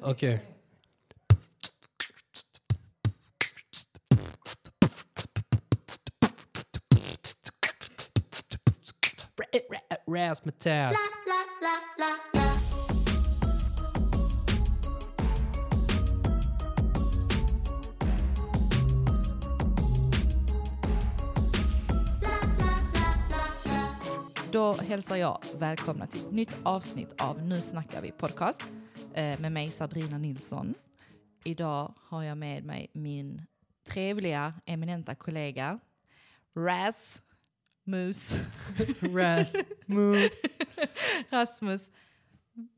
Okej. Razzmatazz. Då hälsar jag välkomna till ett nytt avsnitt av Nu snackar vi podcast eh, med mig Sabrina Nilsson. Idag har jag med mig min trevliga, eminenta kollega Raz Mus, Razz. Moose. Rasmus,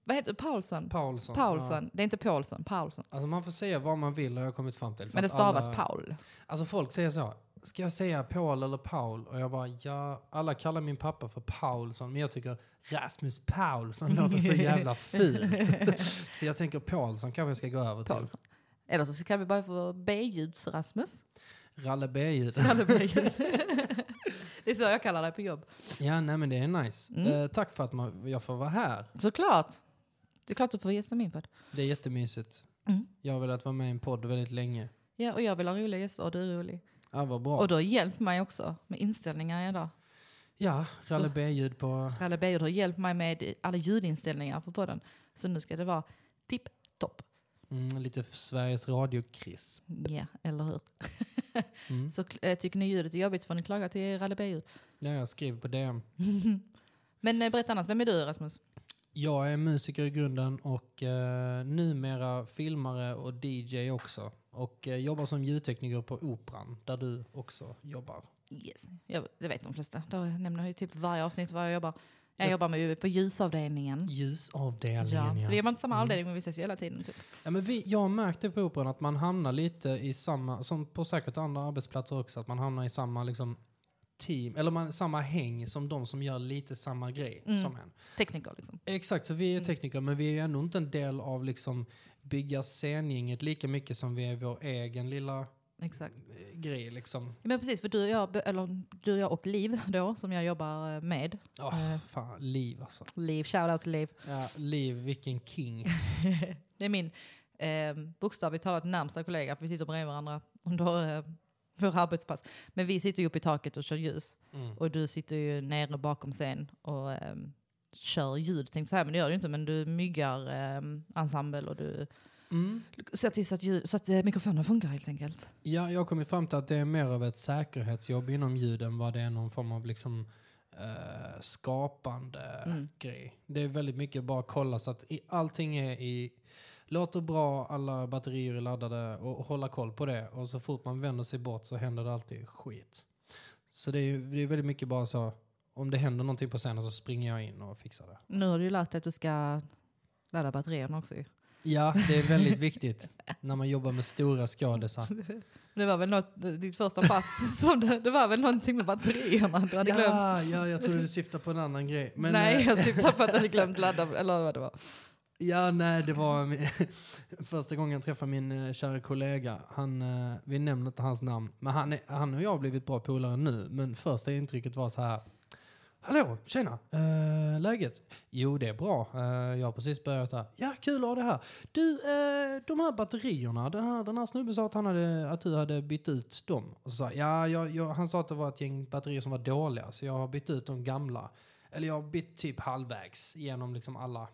vad heter du? Paulsson? Paulsson. Ja. Paulsson, det är inte Paulsson, Paulsson. Alltså man får säga vad man vill har jag kommit fram till. För Men det att stavas alla- Paul. Alltså folk säger så. Ska jag säga Paul eller Paul? Och jag bara ja. Alla kallar min pappa för Paulsson. Men jag tycker Rasmus Paulsson låter så jävla fult. så jag tänker Paulsson kanske jag ska gå över till. Paulsson. Eller så kallar vi bara för B-ljuds-Rasmus. Ralle B-ljud. Alla B-ljud. det är så jag kallar dig på jobb. Ja, nej men det är nice. Mm. Eh, tack för att man, jag får vara här. Såklart. Det är klart du får gästa min podd. Det är jättemysigt. Mm. Jag har velat vara med i en podd väldigt länge. Ja, och jag vill ha roliga gäster och du är rolig. Ja, vad bra. Och du har hjälpt mig också med inställningar idag. ja, Ralle B-ljud på... Ralle Beijert har hjälpt mig med alla ljudinställningar på podden. Så nu ska det vara tipp-topp. Mm, lite Sveriges Radio-Chris. Ja, eller hur? Mm. Så eh, tycker ni ljudet är jobbigt får ni klaga till Ralle Beijert. Ja, jag skrev på DM. Men eh, berätta annars, vem är du Rasmus? Jag är musiker i grunden och eh, numera filmare och DJ också. Och eh, jobbar som ljudtekniker på Operan, där du också jobbar. Yes. Jag, det vet de flesta. Då nämner jag ju typ varje avsnitt var jag jobbar. Jag Ja. jobbar med, på ljusavdelningen. Ljusavdelningen, Ja, ja. så vi jobbar inte i samma Mm. avdelning men vi ses ju hela tiden. Typ. Ja, men vi, jag märkte på Operan att man hamnar lite i samma, som på säkert andra arbetsplatser också, att man hamnar i samma liksom, team, eller man, samma häng som de som gör lite samma grej Mm. som en. Tekniker liksom. Exakt, så vi är tekniker men vi är ju ändå inte en del av liksom, bygga scengänget lika mycket som vi är vår egen lilla Exakt. eh, grej. Liksom. Ja, Men precis, för du och, jag, eller, du och jag och Liv då, som jag jobbar eh, med. Åh, Eh. Fan, Liv alltså. Liv, shoutout till Liv. Ja, Liv, vilken king. Det är min eh, bokstavligt talat närmsta kollega, för vi sitter bredvid varandra under eh, vår arbetspass. Men vi sitter ju uppe i taket och kör ljus. Mm. Och du sitter ju nere bakom scen och eh, kör ljud. Tänkte säga, men det gör du inte. Men du myggar eh, ensemble och du Mm. ser till så att, ljud, så att eh, mikrofonerna funkar helt enkelt. Ja, jag har kommit fram till att det är mer av ett säkerhetsjobb inom ljud än vad det är någon form av liksom, eh, skapande Mm. grej. Det är väldigt mycket bara kolla så att i, allting är i, låter bra, alla batterier är laddade och, och hålla koll på det. Och så fort man vänder sig bort så händer det alltid skit. Så det är, ju- det är väldigt mycket bara så, om det händer någonting på scenen så springer jag in och fixar det. Nu har du ju lärt dig att du ska ladda batterierna också ju. Ja, det är väldigt viktigt när man jobbar med stora skådisar. Det var väl något, eh, ditt första pass, som det, det var väl någonting med batterierna du hade glömt. Ja, ja, jag trodde du syftade på en annan grej. Men, Nej, eh, jag syftar på att du hade glömt ladda, eller vad det var. Ja, nej, det var min, första gången jag träffade min eh, kära kollega. Han, eh, vi nämner inte hans namn, men han, är, han och jag har blivit bra polare nu. Men första intrycket var så här. Hallå, tjena, eh, läget? Jo, det är bra. Eh, jag har precis börjat här. Ja, kul att ha det här. Du, eh, de här batterierna, den här, den här snubben sa att, han hade, att du hade bytt ut dem. Och så sa, jag, ja, jag, jag, han sa att det var ett gäng batterier som var dåliga, så jag har bytt ut de gamla. Eller jag har bytt typ halvvägs genom liksom alla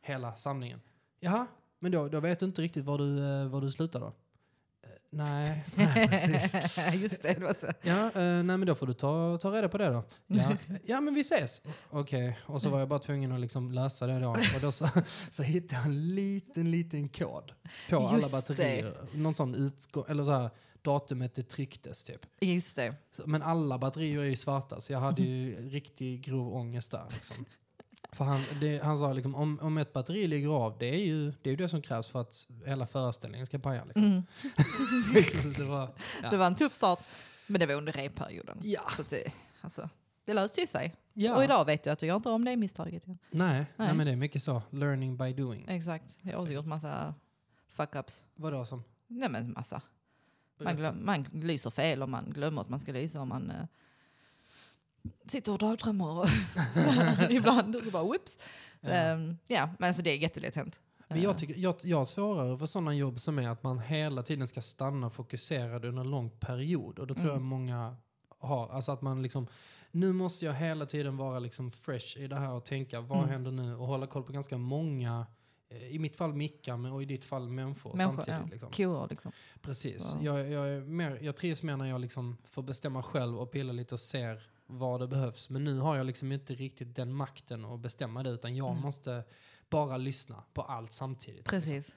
hela samlingen. Jaha, men då, då vet du inte riktigt var du, eh, var du slutar då? Eh, nej, nej, precis. Just det, det var så. Ja, eh, nej men då får du ta, ta reda på det då. Ja, ja men vi ses. Okej, och så var jag bara tvungen att liksom lösa det då. Och då så, så hittade jag en liten, liten kod på alla Just batterier. Någon sån utgång, eller så här, datumet det trycktes typ. Just det. Så- Men alla batterier är ju svarta, så jag hade ju riktig grov ångest där. Liksom. För han, det, han sa liksom, om, om ett batteri ligger av, det är ju det, är ju det som krävs för att hela föreställningen ska paja. Liksom. Mm. Så det var, Det var en tuff start, men det var under repperioden. ja. Så att det, alltså, det löste ju sig. ja. Och idag vet jag att du gör inte om det misstaget. igen. Nej, nej. Nej. men det är mycket så. Learning by doing. Exakt. Jag har också gjort massa fuck-ups. Vadå som? Nej men massa. Man, glöm, man lyser fel och man glömmer att man ska lysa och man eh, sitter och dagdrömmer och ibland och så bara whoops. Ja. eh, Ehm, Ja, men alltså det är jättelätt hänt. Men jag, tycker, jag, jag har svårare för sådana jobb som är att man hela tiden ska stanna fokuserad under en lång period. Och då tror Mm. jag många har. Alltså att man liksom, nu måste jag hela tiden vara liksom fresh i det här och tänka, vad Mm. händer nu? Och hålla koll på ganska många, eh, i mitt fall mickar, men och i ditt fall människor, Människor, samtidigt. ja. Liksom. Koer liksom. Precis. Ja. Jag, jag, är mer, jag trivs mer när jag liksom får bestämma själv och pilla lite och ser vad det behövs. Men nu har jag liksom inte riktigt den makten att bestämma det utan jag Mm. måste bara lyssna på allt samtidigt. Precis.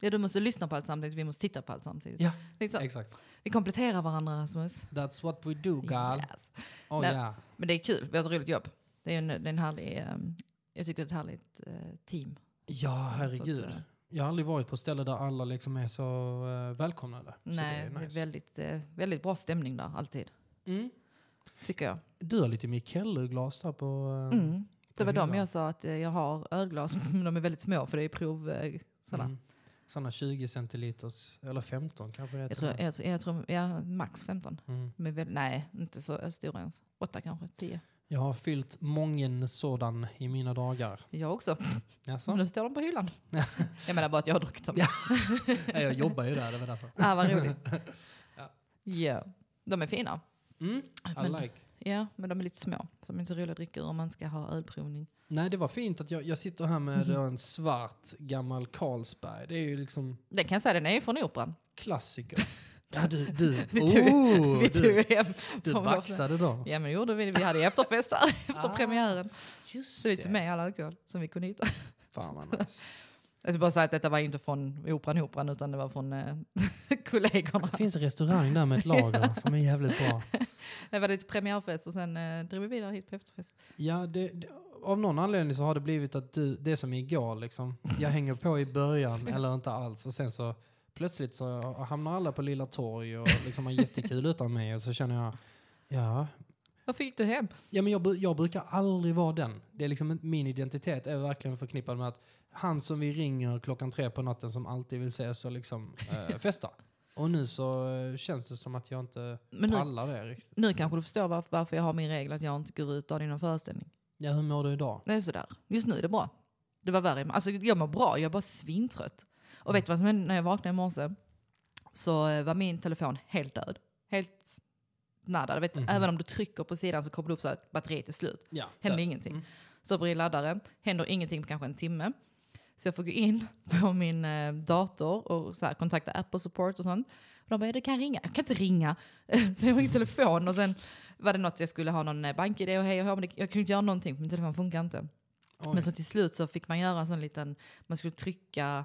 Ja, du måste lyssna på allt samtidigt, vi måste titta på allt samtidigt. Ja, Liksom, Exakt. vi kompletterar varandra Rasmus. That's what we do, gal. Yes. Oh, Nej. yeah. Men det är kul, vi har ett roligt jobb. Det är en, det är en härlig, ehm, jag tycker det är ett härligt eh, team. Ja, Så att, eh, herregud. Jag har aldrig varit på ett ställe där alla liksom är så eh, välkomnade. så det nej, är det är nice. väldigt, eh, väldigt bra stämning där alltid, mm. tycker jag. Du har lite Mikkelle-glas där på... eh, Mm. på Det var dem hyllan. jag sa att eh, jag har ölglas, men de är väldigt små för det är prov... Eh, sådana. mm. Sådana 20 centiliters, eller 15 kanske det är. Jag till tror, och med. jag, tror- jag tror ja, max 15. Mm. De är väl, nej, inte så stora ens. Åtta kanske, tio. Jag har fyllt mången sådan i mina dagar. Jag också, men Jaså? nu står de på hyllan. jag menar bara att jag har druckit dem. Ja. Nej, jag jobbar ju där, det var därför. Ah, vad roligt. Ja. Ja, De är fina. Mm, I Men- like. Ja, men de är lite små. Så de är inte så roliga att dricka ur om man ska ha ölprovning. Nej, det var fint att jag, jag sitter här med då en svart gammal Carlsberg. Det är ju liksom Den kan jag säga, den är ju från Operan. klassiker. Ja, du, du. Vi tog- Oh, vi du, tog hem du från vår- baxade då. Ja, men det gjorde vi. Vi hade ju efterfest där efter Ah, premiären. Just Så vi tog med all alkohol som vi kunde hitta. Fan vad nice. Jag vill bara säga att detta var inte från Operan, Operan, utan det var från eh, kollegorna. Det finns en restaurang där med ett lager som är jävligt bra. Det var lite premiärfest och sen eh, drog vi vidare hit på efterfest. Ja, det, det, av någon anledning så har det blivit att du, det är som igår liksom. Jag hänger på i början eller inte alls och sen så plötsligt så hamnar alla på Lilla Torg och liksom har jättekul utan mig och så känner jag, ja. Varför gick du hem? Ja men jag, bru- jag brukar aldrig vara den. Det är liksom inte- min identitet är verkligen förknippad med att han som vi ringer klockan tre på natten som alltid vill ses och liksom eh, festa. Och nu så eh, känns det som att jag inte Men nu, pallar det riktigt. nu kanske du förstår varför, varför jag har min regel att jag inte går ut dagen innan föreställning. Ja, hur mår du idag? Det är sådär. Just nu är det bra. Det var värre. i- Alltså jag mår bra, jag är bara svintrött. Och vet du vad som hände när jag vaknade i morse? Så eh, var min telefon helt död. Helt nada. Du Vet, Mhm. Även om du trycker på sidan så kommer det upp så att batteriet är slut. Ja, Händer där. ingenting. Mm. Stoppar i laddare, händer ingenting på kanske en timme. Så jag får gå in på min eh, dator och så här, kontakta Apple support och sånt. Och de bara, "Ja, du kan ringa. Jag kan inte ringa. så jag ringde telefon och sen var det något jag skulle ha någon eh, bank-id och hej och hå, men det- jag kunde inte göra någonting för min telefon funkar inte. Oj. Men så till slut så fick man göra en sån liten, man skulle trycka,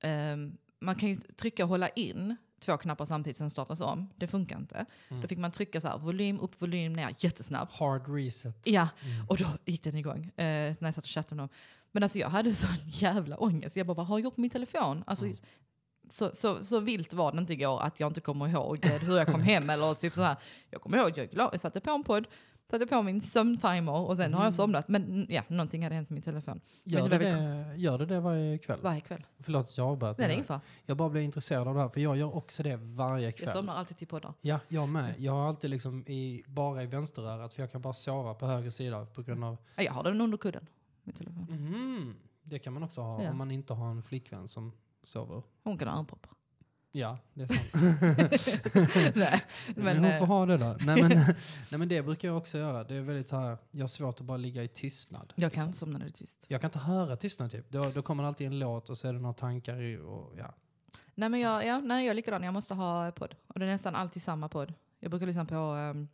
ehm, man kan ju trycka och hålla in två knappar samtidigt som startas om. Det funkar inte. Mm. Då fick man trycka så här, volym upp, volym ner jättesnabbt. Hard reset. Ja, Mm. och då gick den igång eh, när jag satt och chattade med dem. Men alltså jag hade sån jävla ångest. Jag bara, vad har jag gjort på min telefon? Alltså, Mm. så, så, så vilt var det inte igår att jag inte kommer ihåg eh, hur jag kom hem eller typ så här. Jag kommer ihåg, jag, la- jag satte på en podd, satte på min sömntimer och sen har jag Mm. somnat. Men mm, ja, någonting hade hänt med min telefon Gör, Men det det var det, gör det det varje kväll? varje kväll. Förlåt att jag har börjat Nej, med det det. är ingen fara. Jag bara blir intresserad av det här, för jag gör också det varje Jag kväll. somnar alltid till poddar. Ja, jag med. Jag har alltid liksom i, bara i vänsterörat, för jag kan bara sova på höger sida på grund av... Ja, Jag har den under kudden. Min telefon. Mhm. Det kan man också ha Ja. om man inte har en flickvän som sover. Hon kan ha örnproppar. Ja, det är sant. Nej, men men, hon får eh, ha det då. Nej men, nej men det brukar jag också göra. Det är väldigt så här, jag har svårt att bara ligga i tystnad. jag kan liksom. inte somna när det är tyst. Jag kan inte höra tystnad typ. Då, då kommer det alltid en låt och så är det några tankar i och ja. Nej, men jag, ja, nej, jag är likadan. Jag måste ha eh, podd. Och det är nästan alltid samma podd. Jag brukar lyssna på... ehm,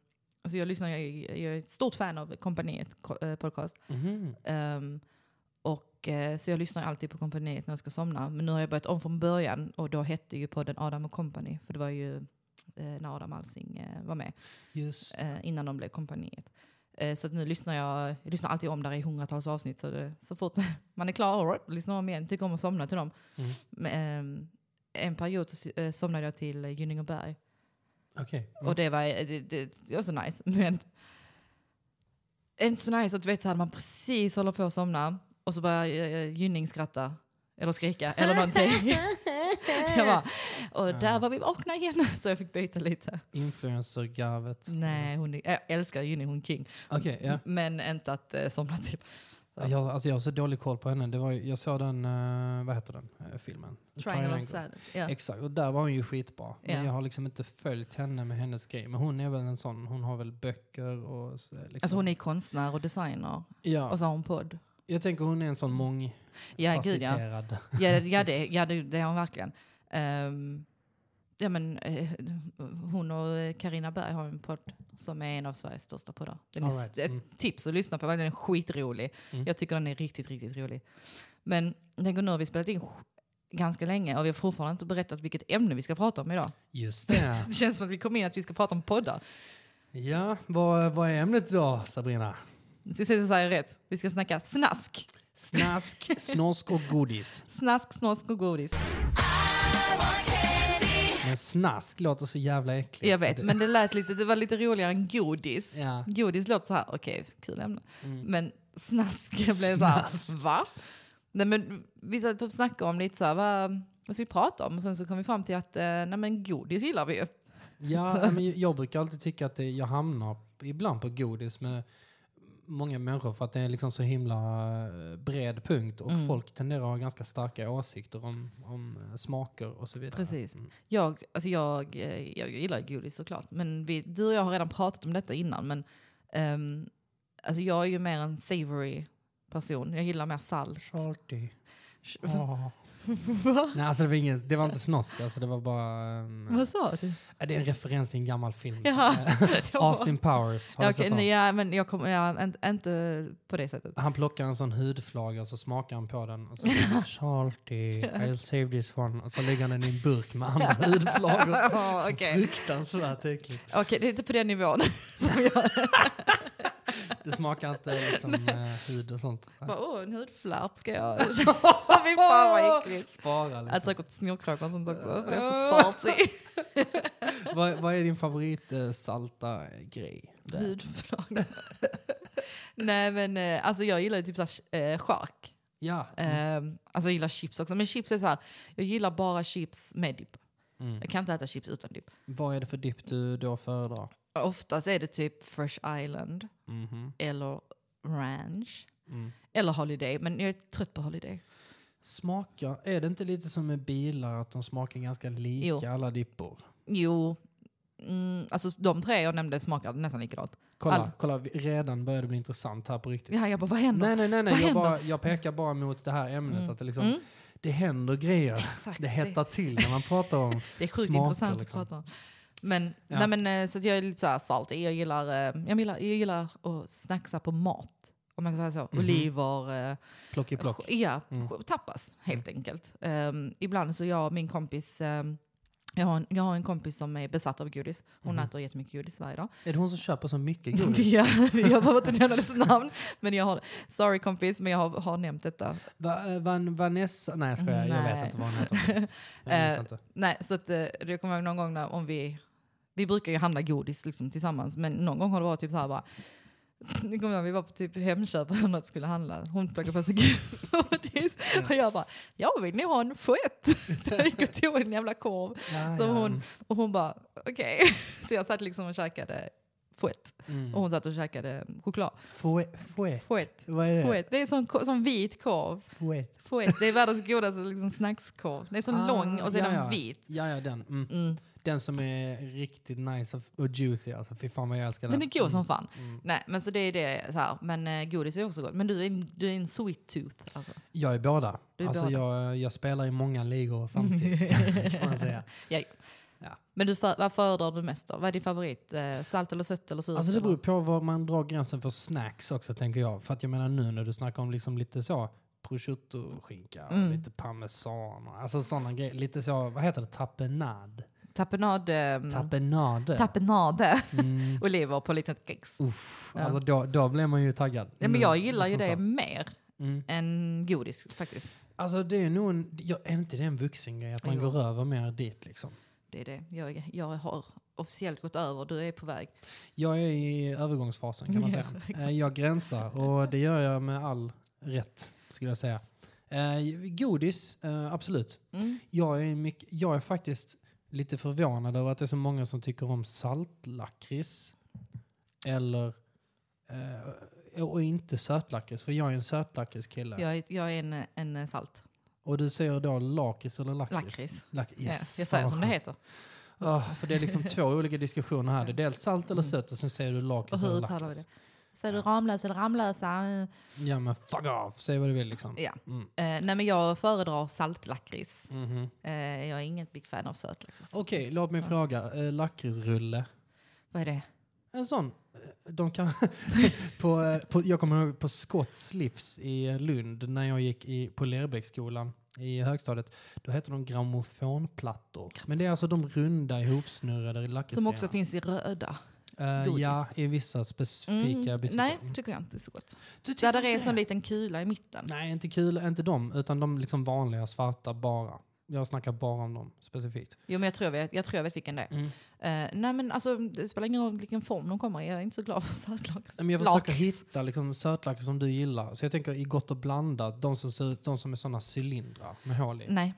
alltså jag, lyssnar, jag, är- jag är ett stort fan av kompaniet ko- eh, podcast. Mhm. Ehm, och, eh, så jag lyssnar alltid på kompaniet när jag ska somna. Men nu har jag börjat om från början och då hette ju podden Adam och Company. För det var ju eh, när Adam Alsing eh, var med. Just eh, innan de blev kompaniet. Eh, så att nu lyssnar jag, jag lyssnar alltid om där i hundratals avsnitt. Så, det, så fort man är klar, all right, lyssnar om igen. Tycker om att somna till dem. Mm. Men, eh, en period så eh, somnade jag till eh, Gynningeberg. Okej. Och det var, eh, det, det, det var så nice. Men inte så nice att du vet så här, man precis håller på att somna och så börjar eh, Gynning skratta. Eller skrika eller någonting. jag bara, och där Ja. var vi vakna igen. Så jag fick byta lite. Influencer-garvet. Nej, hon, är- jag älskar Gynning, hon är king. Okej, ja. Men inte att eh, somna till. Så. Jag, alltså jag har så dålig koll på henne. Det var, ju- jag såg den, eh, vad heter den, eh, filmen? Triangle of Sadness. Ja. Exakt, och där var hon ju skitbra. Ja. Men jag har liksom inte följt henne med hennes grej. Men hon är väl en sån, hon har väl böcker och... så- Liksom. Alltså hon är konstnär och designer. ja, Och så har hon podd. jag tänker hon är en sån Ja, gud ja. mångfacetterad. Ja, ja, det, ja det, det är hon verkligen. Ehm, ja, men, eh, hon och Karina Berg har en podd som är en av Sveriges största poddar. Den är All right, s- ett mm. tips att lyssna på, den är skitrolig. Mm. Jag tycker den är riktigt, riktigt rolig. Men den går nu, vi har spelat in sj- ganska länge och vi har fortfarande inte berättat vilket ämne vi ska prata om idag. Just det. Det känns som att vi kom in att vi ska prata om poddar. Ja, vad, vad är ämnet idag Sabrina? Vi ska se så säger jag rätt. Vi ska snacka snask. Snask, snosk och godis. Snask, snosk och godis. Men snask låter så jävla äckligt. Jag så vet, det- men det lät lite, det var lite roligare än godis. Ja. Godis låter så här, okej, kul ämne. Mm. Men snask jag blev så här, va? Nej, men vi satt typ och snackade om lite så här, vad, vad ska vi prata om? Och sen så kom vi fram till att eh, nej, men godis gillar vi ju. Ja, nej, men jag brukar alltid tycka att det, jag hamnar ibland på godis med många människor för att det är liksom så himla eh, bred punkt och Mm. folk tenderar att ha ganska starka åsikter om, om eh, smaker och så vidare. Precis. Mm. Jag, alltså jag, eh, jag gillar godis såklart, men vi, du och jag har redan pratat om detta innan. Men ehm, alltså jag är ju mer en savory person. Jag gillar mer salt. Shorty. Åh. Nej, alltså det var, ingen, det var inte snosk, alltså det var bara... en- Vad sa du? eh, det är en referens till en gammal film. som- Jaha. eh, Austin Powers, har Ja, du sett okej, honom? nej, ja, men jag kommer ja, en- inte på det sättet. Han plockar en sån hudflaga och så smakar han på den. Och så säger han, Salty, I'll save this one. Och så lägger han den i en burk med andra hudflagor. Ja, Okej, Fruktansvärt äckligt. Okej, det är inte på den nivån som jag Det smakar inte liksom eh, hud och sånt. bara, åh en hudflärp ska jag... Fy fan vad äckligt. Alltså, Spara Jag äter liksom. säkert snorkråkor och sånt också, för jag är så salty. Vad, vad är din favorit eh, salta grej? där? Hudflagor. Nej men eh, alltså jag gillar ju typ såhär eh, schack. Ja. Eh, alltså jag gillar chips också, men chips är så här. jag gillar bara chips med dipp. Mm. Jag kan inte äta chips utan dipp. Vad är det för dipp du då föredrar? Oftast är det typ Fresh Island Mhm. eller Ranch. Mm. Eller Holiday, men jag är trött på Holiday. Smakar, är det inte lite som med bilar att de smakar ganska lika Jo. alla dippor? Jo, mm, alltså de tre jag nämnde smakar nästan likadant. Kolla, All- kolla, vi- redan börjar det bli intressant här på riktigt. Ja, jag bara, vad Nej, händer? nej, nej, nej. Vad Jag, händer? bara, jag pekar bara mot det här ämnet. Mm. Att det, liksom, Mm, det händer grejer. exakt. Det hettar till när man pratar om det är sjukt smaker, intressant liksom. att prata om. Men, Ja. nej, men eh, så att jag är lite så här salty. Jag gillar, eh, jag gillar, jag gillar att snacksa på mat. Om man kan säga så. Mhm. Oliver, eh, plock-i-plock. ja, Mm. sk- tapas helt enkelt. Ehm, ibland så jag och min kompis, ehm, jag, har en, jag har en kompis som är besatt av godis. Hon Mhm. äter jättemycket godis varje dag. Är det hon som köper så mycket godis? Ja, jag behöver inte nämna dess namn, men jag har Sorry kompis, men jag har, har nämnt detta. Va, eh, Van, Vanessa? Nej jag skojar, jag vet Nej. inte vad hon heter. faktiskt. Jag minns Eh, inte. Nej, så att, eh, jag kommer ihåg någon gång när, om vi, vi brukar ju handla godis liksom, tillsammans, men någon gång har det varit typ så här bara, ni kommer ihåg, vi var på typ Hemköp och något skulle handla. Hon plockade på sig godis. Och jag bara, jag vill nog ha en fouett. Så jag gick och tog en jävla korv. Ja, som ja, hon- Och hon bara, okej. Så jag satt liksom och käkade fouett. Mm. Och hon satt och käkade choklad. Fouet. Fouet. Fouett. Vad är det? Fouett, det är sån, ko- sån vit korv. Fouet. Fouette, det är världens godaste liksom, snackskorv. Den är så Ah, lång och så är ja, den ja. vit. Ja, ja den. Mm. Mm. Den som är riktigt nice och, och juicy alltså. Fy fan vad jag älskar den. Den är god som fan. Mm. Nej, men så det är det. Så här. Men eh, godis är också gott. Men du är, en- du är en sweet tooth. Alltså. Jag är båda. Du är alltså båda. Jag, jag spelar i många ligor samtidigt. kan man säga. Men du för, vad föredrar du mest då? Vad är din favorit? Eh, salt eller sött eller surt? Alltså det eller? beror på var man drar gränsen för snacks också tänker jag. För att jag menar nu när du snackar om liksom lite så prosciutto-skinka, och Mm. lite parmesan, och alltså sådana grejer. Lite så, vad heter det, tapenad? Tapenade. ehm, Tapenade. Tapenade. mm. Oliver på litet kex. Uff, Ja. alltså då, då blir man ju taggad. Nej, men Mm, jag gillar ju liksom det så. mer Mm. än godis faktiskt. Alltså det är nog en, jag, är inte det en vuxengrej att man Jo. går över mer dit liksom? Det är det. Jag, jag har officiellt gått över. Du är på väg. Jag är i övergångsfasen kan man Ja, säga. Eh, jag gränsar och det gör jag med all rätt skulle jag säga. Eh, Godis, eh, absolut. Mm. Jag är, mycket, jag är faktiskt lite förvånad över att det är så många som tycker om saltlakrits. Eller eh, och inte sötlakrits, för jag är en sötlakritskille. Jag, är- jag är en, en salt. Och du säger då lakrits eller lakrits? Lakrits. Lak yes. ja, jag säger Fan, som vad det skönt. heter. Ah, för det är liksom två olika diskussioner här. Det är dels salt eller sött och sen säger du Mm. Och lakrits Alltså, hur eller uttalar vi lakrits. det? Säger du Ramlösa eller Ramlösa? Eh, Ja men fuck off, säg vad du vill liksom. Ja. Mm. nej, men jag föredrar saltlakrits. Mhm. Eh, jag är inget big fan av sötlakrits. Okej, låt mig fråga. Eh, Lakritsrulle. Vad är det? En sån. eh, De kan, på, eh, på, jag kommer ihåg på Scotts Livs i Lund när jag gick i, på Lerbäcksskolan i högstadiet. Då hette de grammofonplattor. Men det är alltså de runda ihopsnurrade Som lakritsgrejerna. också finns i röda. Eh, godis. Ja, i vissa specifika Mm, butiker. nej, tycker jag inte är så gott. Du Där tycker det inte är en det? sån liten kula i mitten. Nej, inte kul, inte de, utan de liksom vanliga svarta bara. Jag snackar bara om dem specifikt. Jo, men jag tror jag vet, jag tror jag vet vilken det är. Mm. Eh, nej, men alltså, det spelar ingen roll vilken form de kommer i. Jag är inte så glad för sötlakrits. Men jag försöker Lakrits. hitta liksom, sötlakrits som du gillar. Så jag tänker i gott och blandat, de som, ser ut, de som är sådana cylindrar med hål i. Nej,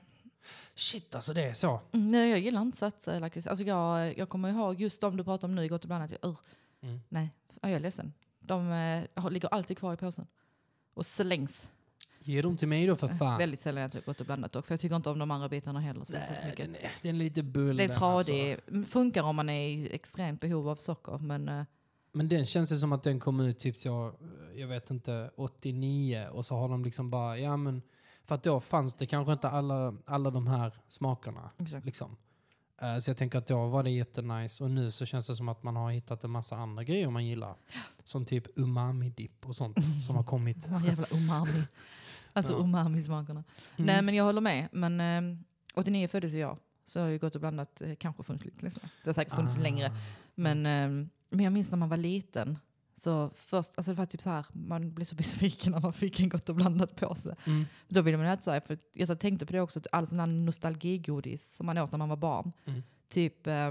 Shit alltså det är så. Mm, nej, jag gillar inte sötlakrits. Alltså, jag, jag kommer ihåg just de du pratar om nu i Gott och blandat. Jag, ur. Mm. Nej, ja, jag är ledsen. De eh, har- ligger alltid kvar i påsen. Och slängs. Ge dem till mig då för fan. Eh, Väldigt sällan jag tycker Gott och blandat dock. För jag tycker inte om de andra bitarna heller. så Nej, mycket. den, är, den är lite bull. alltså. Det är den, tradig. Funkar om man är i extremt behov av socker. Men eh, Men den känns ju som att den kom ut typ så, jag vet inte, 89 och så har de liksom bara, ja men, för att då fanns det kanske inte alla, alla de här smakerna. exakt. Liksom. Eh, Så jag tänker att då var det jättenice och nu så känns det som att man har hittat en massa andra grejer man gillar. Som typ umami-dipp och sånt som har kommit. De här jävla umami. Alltså Ja. Mm. umami-smakerna. Nej men jag håller med. Men eh, 89 föddes ju jag. Så jag har ju gått och blandat eh, kanske funnits lite längre. Det har säkert funnits Ah. längre. Mm. Men, eh, men jag minns när man var liten. Så först, alltså det var typ så här, man blev så besviken när man fick en gott och blandat påse. Mm. Då ville man äta så här, för jag tänkte på det också, att all sån här nostalgigodis som man åt när man var barn. Mm. Typ, eh,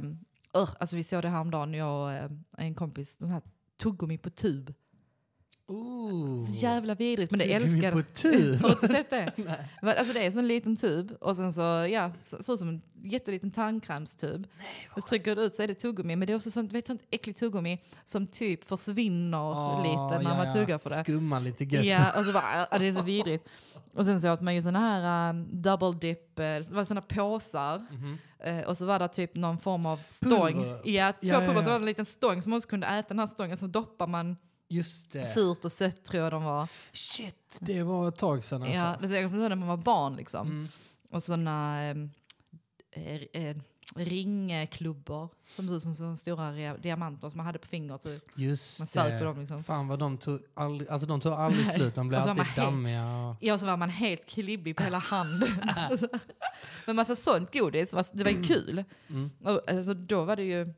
ugh, alltså vi såg det häromdagen, jag och eh, en kompis, de här tuggummi på tub. Ooh. Så jävla vidrigt, men det Tycker vi älskar på tur. Har du inte sett det? Men Alltså det är en sån liten tub och sen så, ja, så, så som en jätteliten tandkrämstub. Och så trycker du ut så är det tuggummi, men det är också sånt, vet, sånt äckligt tuggummi som typ försvinner Ah, lite när ja, man ja. tuggar på det. Skumma lite gött. Ja, och så bara, ah, det är så vidrigt. Och sen så åt man ju såna här um, double dip, eh, det var såna påsar. Mhm. Eh, och så var det typ någon form av stång. Pulver. Ja, två Ja, ja, pulver, så ja. var det en liten stång som man också kunde äta. Den här stången så doppar man Just det. surt och sött tror jag de var. Shit, det var ett tag sedan alltså. Ja, det är jag kommer ihåg när man var barn liksom. Mm. Och såna ehm, eh, eh, ringklubbor som ser ut som såna stora rea- diamanter som man hade på fingret. Så man Just sög på det. dem liksom. Fan vad de tog aldrig, alltså de tog aldrig slut. De blev Och så var alltid man helt- dammiga. Och... Ja, så var man helt klibbig på hela handen. Alltså. Men massa sånt godis, var- det var ju kul. Mm. Och, alltså, då var det ju...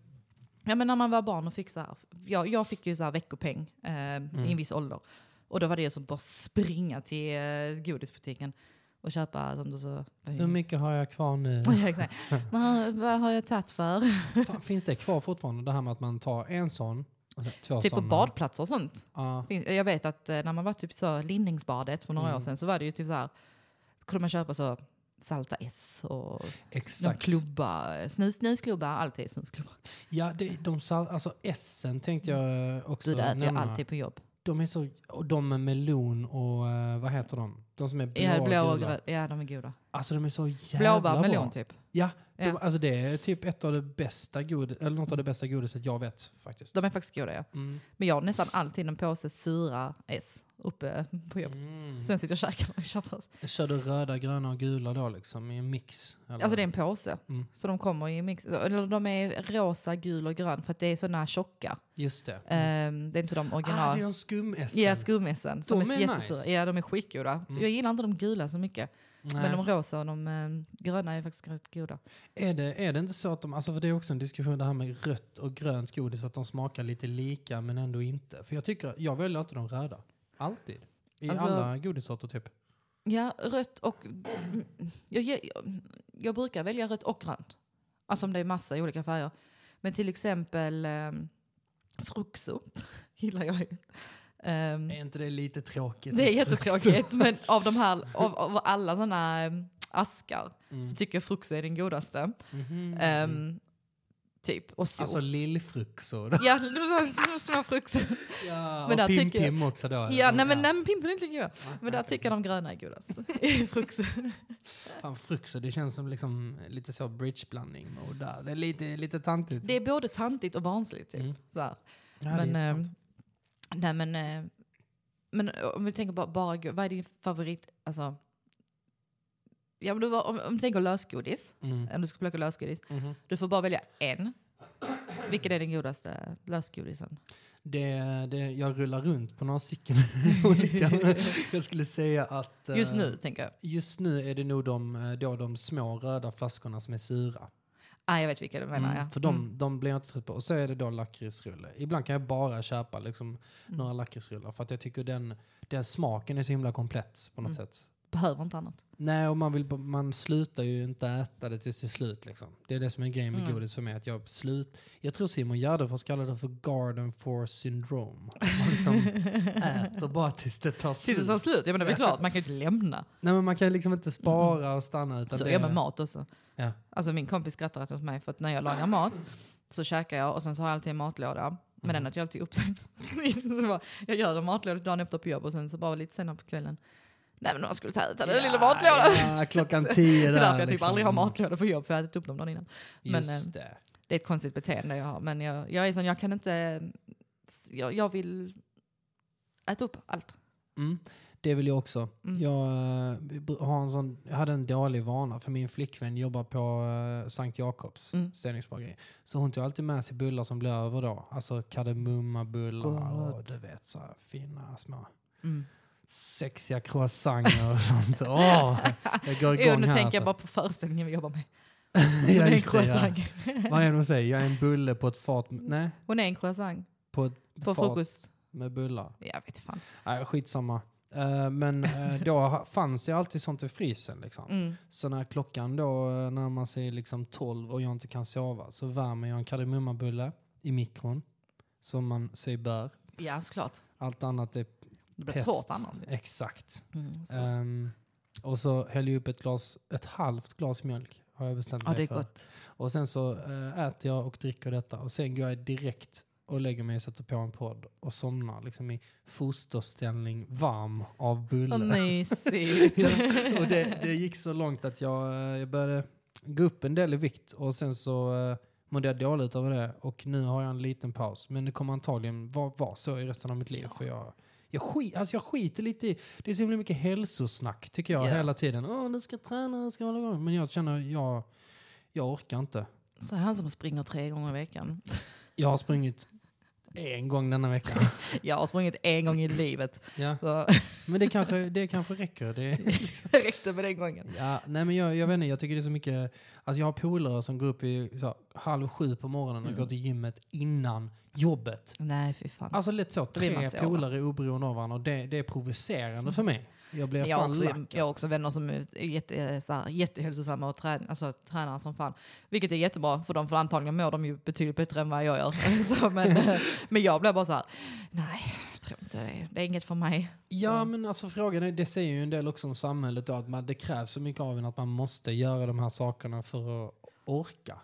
Ja, men när man var barn och fick så här... Jag, jag fick ju så här veckopeng eh, Mm. i en viss ålder. Och då var det ju som bara springa till eh, godisbutiken och köpa som du sa. Hur mycket har jag kvar nu? Ja, exakt. Vad- Vad har jag tagit för? Fan, finns det kvar fortfarande det här med att man tar en sån och sen två Typ på såna? badplatser och sånt. Ja. Finns- Jag vet att eh, när man var typ så Lindingsbadet för några Mm. år sedan så var det ju typ så här, kunde man köpa så Salta S och någon Exakt. klubba, eh, snus, snusklubba, alltid snusklubba. Ja, det, de sal, alltså essen tänkte jag eh, också Du det äter jag nämna. alltid på jobb. De är så, och de med melon och eh, vad heter de? De som är blå, Ja, blå och gula. grön. Ja, de är goda. Alltså de är så jävla Blåbär, bra. melon typ. Ja, de, Ja. alltså det är typ ett av det bästa godis, eller något av det bästa godiset jag vet faktiskt. De är faktiskt goda ja. Mm. Men jag har nästan alltid en påse sura S uppe på jobb. Mm. Så jag sitter och käkar när jag kör först. Kör du röda, gröna och gula då liksom i en mix? Eller? Alltså det är en påse. Mm. Så de kommer i mix. Eller de är rosa, gul och grön för att det är sådana tjocka. Just det. Ehm, det är inte de original. Ah, det är de skumessen. Ja, skummessen. Som De är, är jättesura. nice. Ja, de är skitgoda. Mm. Jag gillar inte de gula så mycket. Nej. Men de rosa och de eh, gröna är faktiskt rätt goda. Är det, är det inte så att de, alltså för det är också en diskussion det här med rött och grönt godis, att de smakar lite lika men ändå inte. För jag tycker, jag väljer alltid de röda. Alltid. I Alltså- alla godissorter typ. Ja, rött och... mm, Jag, ge- jag, jag brukar välja rött och grönt. Alltså om det är massa i olika färger. Men till exempel um, fruxo gillar jag ju. Ehm, Mm. Är inte det lite tråkigt? det är jättetråkigt, men av, de här, av, av alla sådana askar Mm. så tycker jag fruxo är den godaste. Mhm. Ehm, Typ, och så. Alltså lillfruxor. ja, små frukter. Ja, Men där och Pim tycker jag- Pim också då. Ja, eller? nej men, nej, men pimpel är inte lika goda. Men där tycker jag de gröna är godast. I frukter. Fan, fruxor, det känns som liksom lite så bridgeblandning. Och där. Det är lite, lite tantigt. Det är både tantigt och barnsligt typ. Mm. Så här. Ja, det är men, intressant. ehm, nej men, eh, men eh, om vi tänker bara, bara go- vad är din favorit, alltså, ja, men du, var- om, om du tänker lösgodis, Mm. om du ska plocka lösgodis, Mhm. du får bara välja en. Vilken är den godaste lösgodisen? Det, det, jag rullar runt på några stycken olika. Jag skulle säga att... eh, Just nu tänker jag. Just nu är det nog de, eh, då de små röda flaskorna som är sura. Ah, jag vet vilka du menar Mm, ja. För de, Mm. de blir jag inte trött på. Och så är det då lakritsrulle. Ibland kan jag bara köpa Mm. liksom, några lakritsrullar för att jag tycker den, den smaken är så himla komplett på något Mm. sätt. Behöver inte annat. Nej, och man, vill, b- man slutar ju inte äta det tills det är slut. Liksom. Det är det som är grejen med Mm. godis för mig. Att jag, slut, jag tror Simon Gärdenfors kallar det för garden for syndrome. Att Man liksom äter bara tills det tar Tills det slut. tar slut, ja men det är väl klart, man kan ju inte lämna. Nej, men man kan liksom inte spara och stanna. Utan Så det, är Alltså, jag med mat också. Ja. Alltså min kompis skrattar åt mig för att när jag lagar mat så käkar jag och sen så har jag alltid en matlåda. Men Mm. den att jag alltid upp sen. Så bara, jag gör en matlåda dagen efter på jobb och sen så bara lite senare på kvällen. Nej men man skulle ta ut den Ja, lilla matlådan. Ja, klockan tio Det är där. därför jag typ liksom. aldrig har matlåda på jobb för jag har ätit upp dem dagen innan. men, eh, Just det. Det är ett konstigt beteende jag har men jag, jag är sån, jag kan inte, jag, jag vill äta upp allt. Mm, det vill jag också. Mm. Jag, eh, br- har en sån, jag hade en dålig vana för min flickvän jobbar på eh, Sankt Jakobs Mm. städningsbageri. Så hon tog alltid med sig bullar som blev över då. Alltså kardemummabullar och Gott. du vet så här, fina små Mm. sexiga croissanter och sånt. Åh, jag går Jo, igång nu här tänker alltså. jag bara på föreställningen vi jobbar med. Ja, Hon är en just det, ja. croissant. Vad är det hon säger? Jag är en bulle på ett fat... Nej, Hon är en croissant på ett på fat frukost. med bullar. Jag vet fan. Nej, skitsamma. Eh, men eh, då ha- fanns ju alltid sånt i frysen liksom. Mm. Så när klockan då eh, närmar sig liksom 12 och jag inte kan sova så värmer jag en kardemummabulle i mikron. Som man sig bör. Ja, såklart. Allt annat är Det blir pest. Eh, torrt annars. Exakt. Mm, så. Ehm, och så häller jag upp ett, glas, ett halvt glas mjölk. Har jag bestämt ja, mig det är för. gott. Och sen så eh, äter jag och dricker detta. Och sen går jag direkt och lägger mig och sätter på en podd. Och somnar liksom i fosterställning varm av bulle. Vad mysigt. Ja, och det, det gick så långt att jag, eh, jag började gå upp en del i vikt och sen så eh, mådde jag dåligt över det och nu har jag en liten paus. Men det kommer antagligen vara vara så i resten av mitt liv för jag, jag, skit, alltså jag skiter lite i, det är så himla mycket hälsosnack tycker jag Ja. hela tiden. Åh, du ska träna, du ska hålla igång. Men jag känner, jag, jag orkar inte. Så han som springer tre gånger i veckan. Jag har sprungit en gång denna veckan. Jag har sprungit en gång i livet. ja. Så Men det kanske, det kanske räcker. Det det räckte med den gången. Ja, nej men jag, jag vet inte, jag tycker det är så mycket, alltså jag har polare som går upp i så, här, halv sju på morgonen Mm. och går till gymmet innan jobbet. Nej, fy fan. Alltså lätt så, Då vill man tre sova. polare oberoende av varandra och det, det är provocerande för mig. Jag blir Men jag, har fan också, lack. jag har Alltså. också vänner som är jätte, eh, så här, jättehälsosamma och trän, alltså, tränar som fan. Vilket är jättebra för dem, för antagligen mår de ju betydligt bättre än vad jag gör. så, men, eh, men jag blir bara så här, nej, jag tror inte det. Det är inget för mig. Ja men alltså frågan är, det säger ju en del också om samhället då, att man, det krävs så mycket av en att man måste göra de här sakerna för att orka.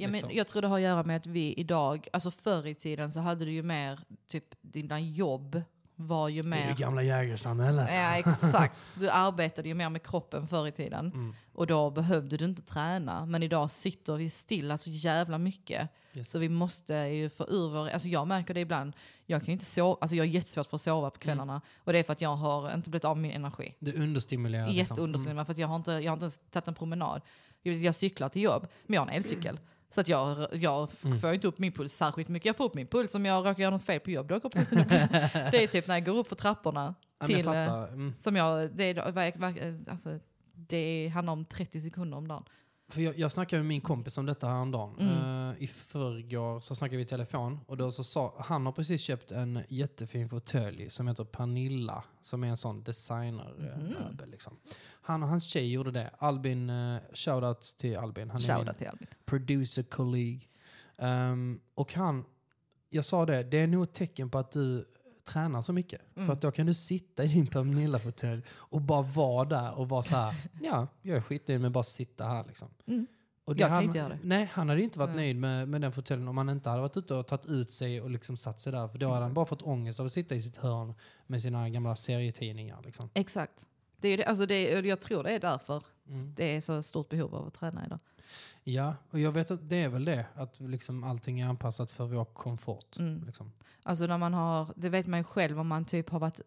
Ja, men liksom. jag tror det har att göra med att vi idag, alltså förr i tiden så hade du ju mer, typ dina jobb var ju Det är det mer... gamla jägarsamhället. Ja exakt, du arbetade ju mer med kroppen förr i tiden. Mm, Och då behövde du inte träna. Men idag sitter vi stilla så jävla mycket. Just Så vi måste ju få ur vår... Alltså jag märker det ibland. Jag kan ju inte sova, alltså jag har jättesvårt för att sova på kvällarna. Mm. Och det är för att jag har inte blivit av med min energi. det understimulerar. liksom. Jätteunderslimmad för att jag har, inte, jag har inte ens tagit en promenad. Jag, jag cyklar till jobb, men jag har en elcykel. Så att jag, jag f- Mm. får inte upp min puls särskilt mycket. Jag får upp min puls om jag råkar göra något fel på jobb. Då går pulsen upp. det är typ när jag går upp för trapporna. Ja, men Till, eh, jag fattar. Mm. Som jag, det, är, då- verk- verk- alltså, det handlar om 30 sekunder om dagen. För jag, jag snackade med min kompis om detta häromdagen. Mm. Eh, I förrgår så snackade vi i telefon och då så sa han har precis köpt en jättefin fåtölj som heter Pernilla som är en sån Mhm. designermöbel. Liksom. Han och hans tjej gjorde det. Albin, uh, shoutout till Albin. Han är min Shoutout till Albin. producer colleague. Ehm, och han, jag sa det, det är nog ett tecken på att du tränar så mycket. Mm. För att då kan du sitta i din Pernilla-fåtölj och bara vara där och vara så här, ja, jag är skitnöjd med bara sitta här liksom. Mm. Och Jag kan han, ju inte göra det. Mm. Nej, han hade ju inte varit Nej. nöjd med, med den fåtöljen om han inte hade varit ute och tagit ut sig och liksom satt sig där. För då hade han Exakt. bara fått ångest av att sitta i sitt hörn med sina gamla serietidningar. Liksom. Exakt. Det är ju det, alltså det är, jag tror det är därför Mm. det är så stort behov av att träna idag. Ja, och jag vet att det är väl det. Att liksom allting är anpassat för vår komfort. Mm. Liksom. Alltså när man har, det vet man ju själv om man typ har varit,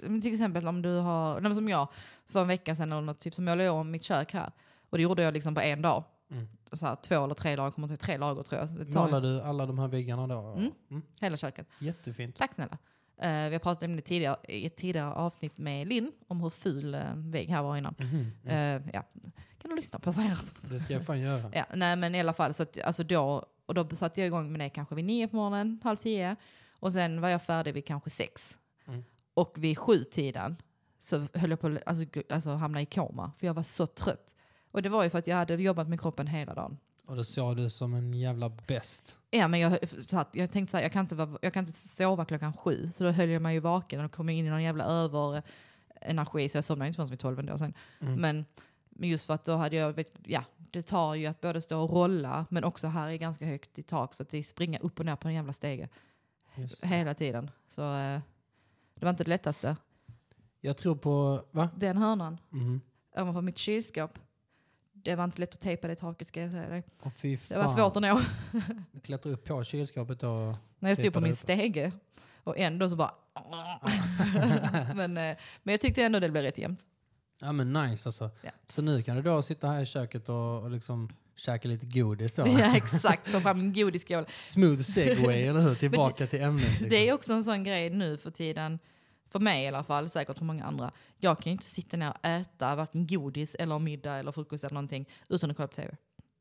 men till exempel om du har, nej, men som jag, för en vecka sedan eller något, typ som jag låg om mitt kök här. Och det gjorde jag liksom på en dag. Mm. Så här, två eller tre dagar, jag kommer till tre lager tror jag. Så det tar Målar du alla de här väggarna då? Mm. hela köket. Jättefint. Tack snälla. Eh, vi har pratat om det tidigare, i ett tidigare avsnitt med Linn om hur ful uh, vägg här var innan. Mhm. Mm. Eh, ja. Kan du lyssna på så här? Det ska jag fan göra. Ja, nej men i alla fall, så att, alltså då, och då satte jag igång med det kanske vid nio på morgonen, halv tio. Och sen var jag färdig vid kanske sex. Mm. Och vid sju-tiden så höll jag på att alltså, gu- alltså, hamna i koma, för jag var så trött. Och det var ju för att jag hade jobbat med kroppen hela dagen. Och då såg du som en jävla bäst. Ja, men jag, så att, jag tänkte så här, jag kan, inte vara, jag kan inte sova klockan sju, så då höll jag mig ju vaken och då kom jag in i någon jävla överenergi, så jag somnade inte förrän vid tolv ändå sen. Mm. Men men just för att då hade jag, vet- ja, det tar ju att både stå och rolla, men också här är ganska högt i tak, så att det är springa upp och ner på den jävla stege Just. hela tiden. Så eh, det var inte det lättaste. Jag tror på... Va? Den hörnan, Mm. ovanför mitt kylskåp, det var inte lätt att tejpa det taket ska jag säga dig. Åh fy Det fan. var svårt att nå. Klättra upp på kylskåpet och... När jag stod Tejpa på det min uppe. stege och ändå så bara... men, eh, men jag tyckte ändå det blev rätt jämnt. Ja men nice alltså. Ja. Så nu kan du då sitta här i köket och, och liksom käka lite godis då. Ja, exakt, ta fram en godisskål. Smooth segway, eller hur? Tillbaka till ämnet. Liksom. Det är också en sån grej nu för tiden, för mig i alla fall, säkert för många andra. Jag kan ju inte sitta ner och äta varken godis eller middag eller frukost eller någonting utan att kolla på tv.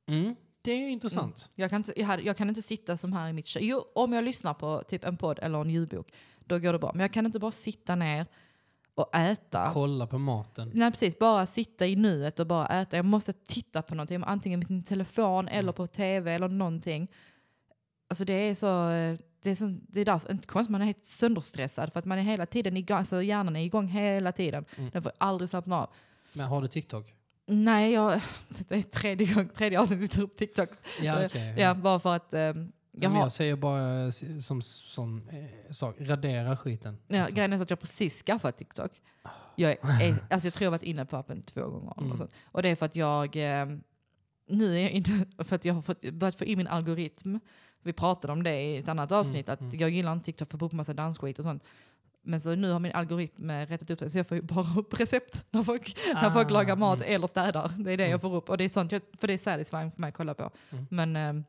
mm, det är intressant. Jag kan, inte, jag, hade- jag kan inte sitta som här i mitt kök. Jo, om jag lyssnar på typ en podd eller en ljudbok, då går det bra. Men jag kan inte bara sitta ner och äta. Kolla på maten. Nej precis, bara sitta i nuet och bara äta. Jag måste titta på någonting, antingen på min telefon Mm. eller på tv eller någonting. Alltså det är så, eh, det är, så, det är därför, inte konstigt man är helt sönderstressad för att man är hela tiden igång, alltså hjärnan är igång hela tiden. Mm. Den får aldrig slappna av. Men har du TikTok? Nej, jag, det är tredje, gång, tredje avsnittet vi tar upp TikTok. Ja Eh, okej. Ja, bara för att ehm, jag Men har, jag säger bara eh, som sån eh, sak, radera skiten. ja, Alltså. grejen är så att jag precis skaffat TikTok. Jag, är, alltså jag tror jag har varit inne på appen två gånger. Mm. Och, sånt. och det är för att jag... eh, Nu är jag inte... För att jag har fått, börjat få in min algoritm. Vi pratade om det i ett annat avsnitt, att mm. jag gillar inte TikTok för att få upp massa dansskit och sånt. Men så nu har min algoritm eh, rättat upp det, så jag får ju bara upp recept när folk, när folk Ah, lagar mat mm. eller städar. Det är det Mm. jag får upp, och det är sånt, jag, för det är satisfying för mig att kolla på. Mm. Men, eh,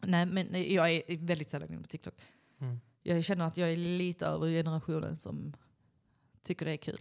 nej, men jag är väldigt sällan inne på TikTok. Mm. Jag känner att jag är lite över generationen som tycker det är kul.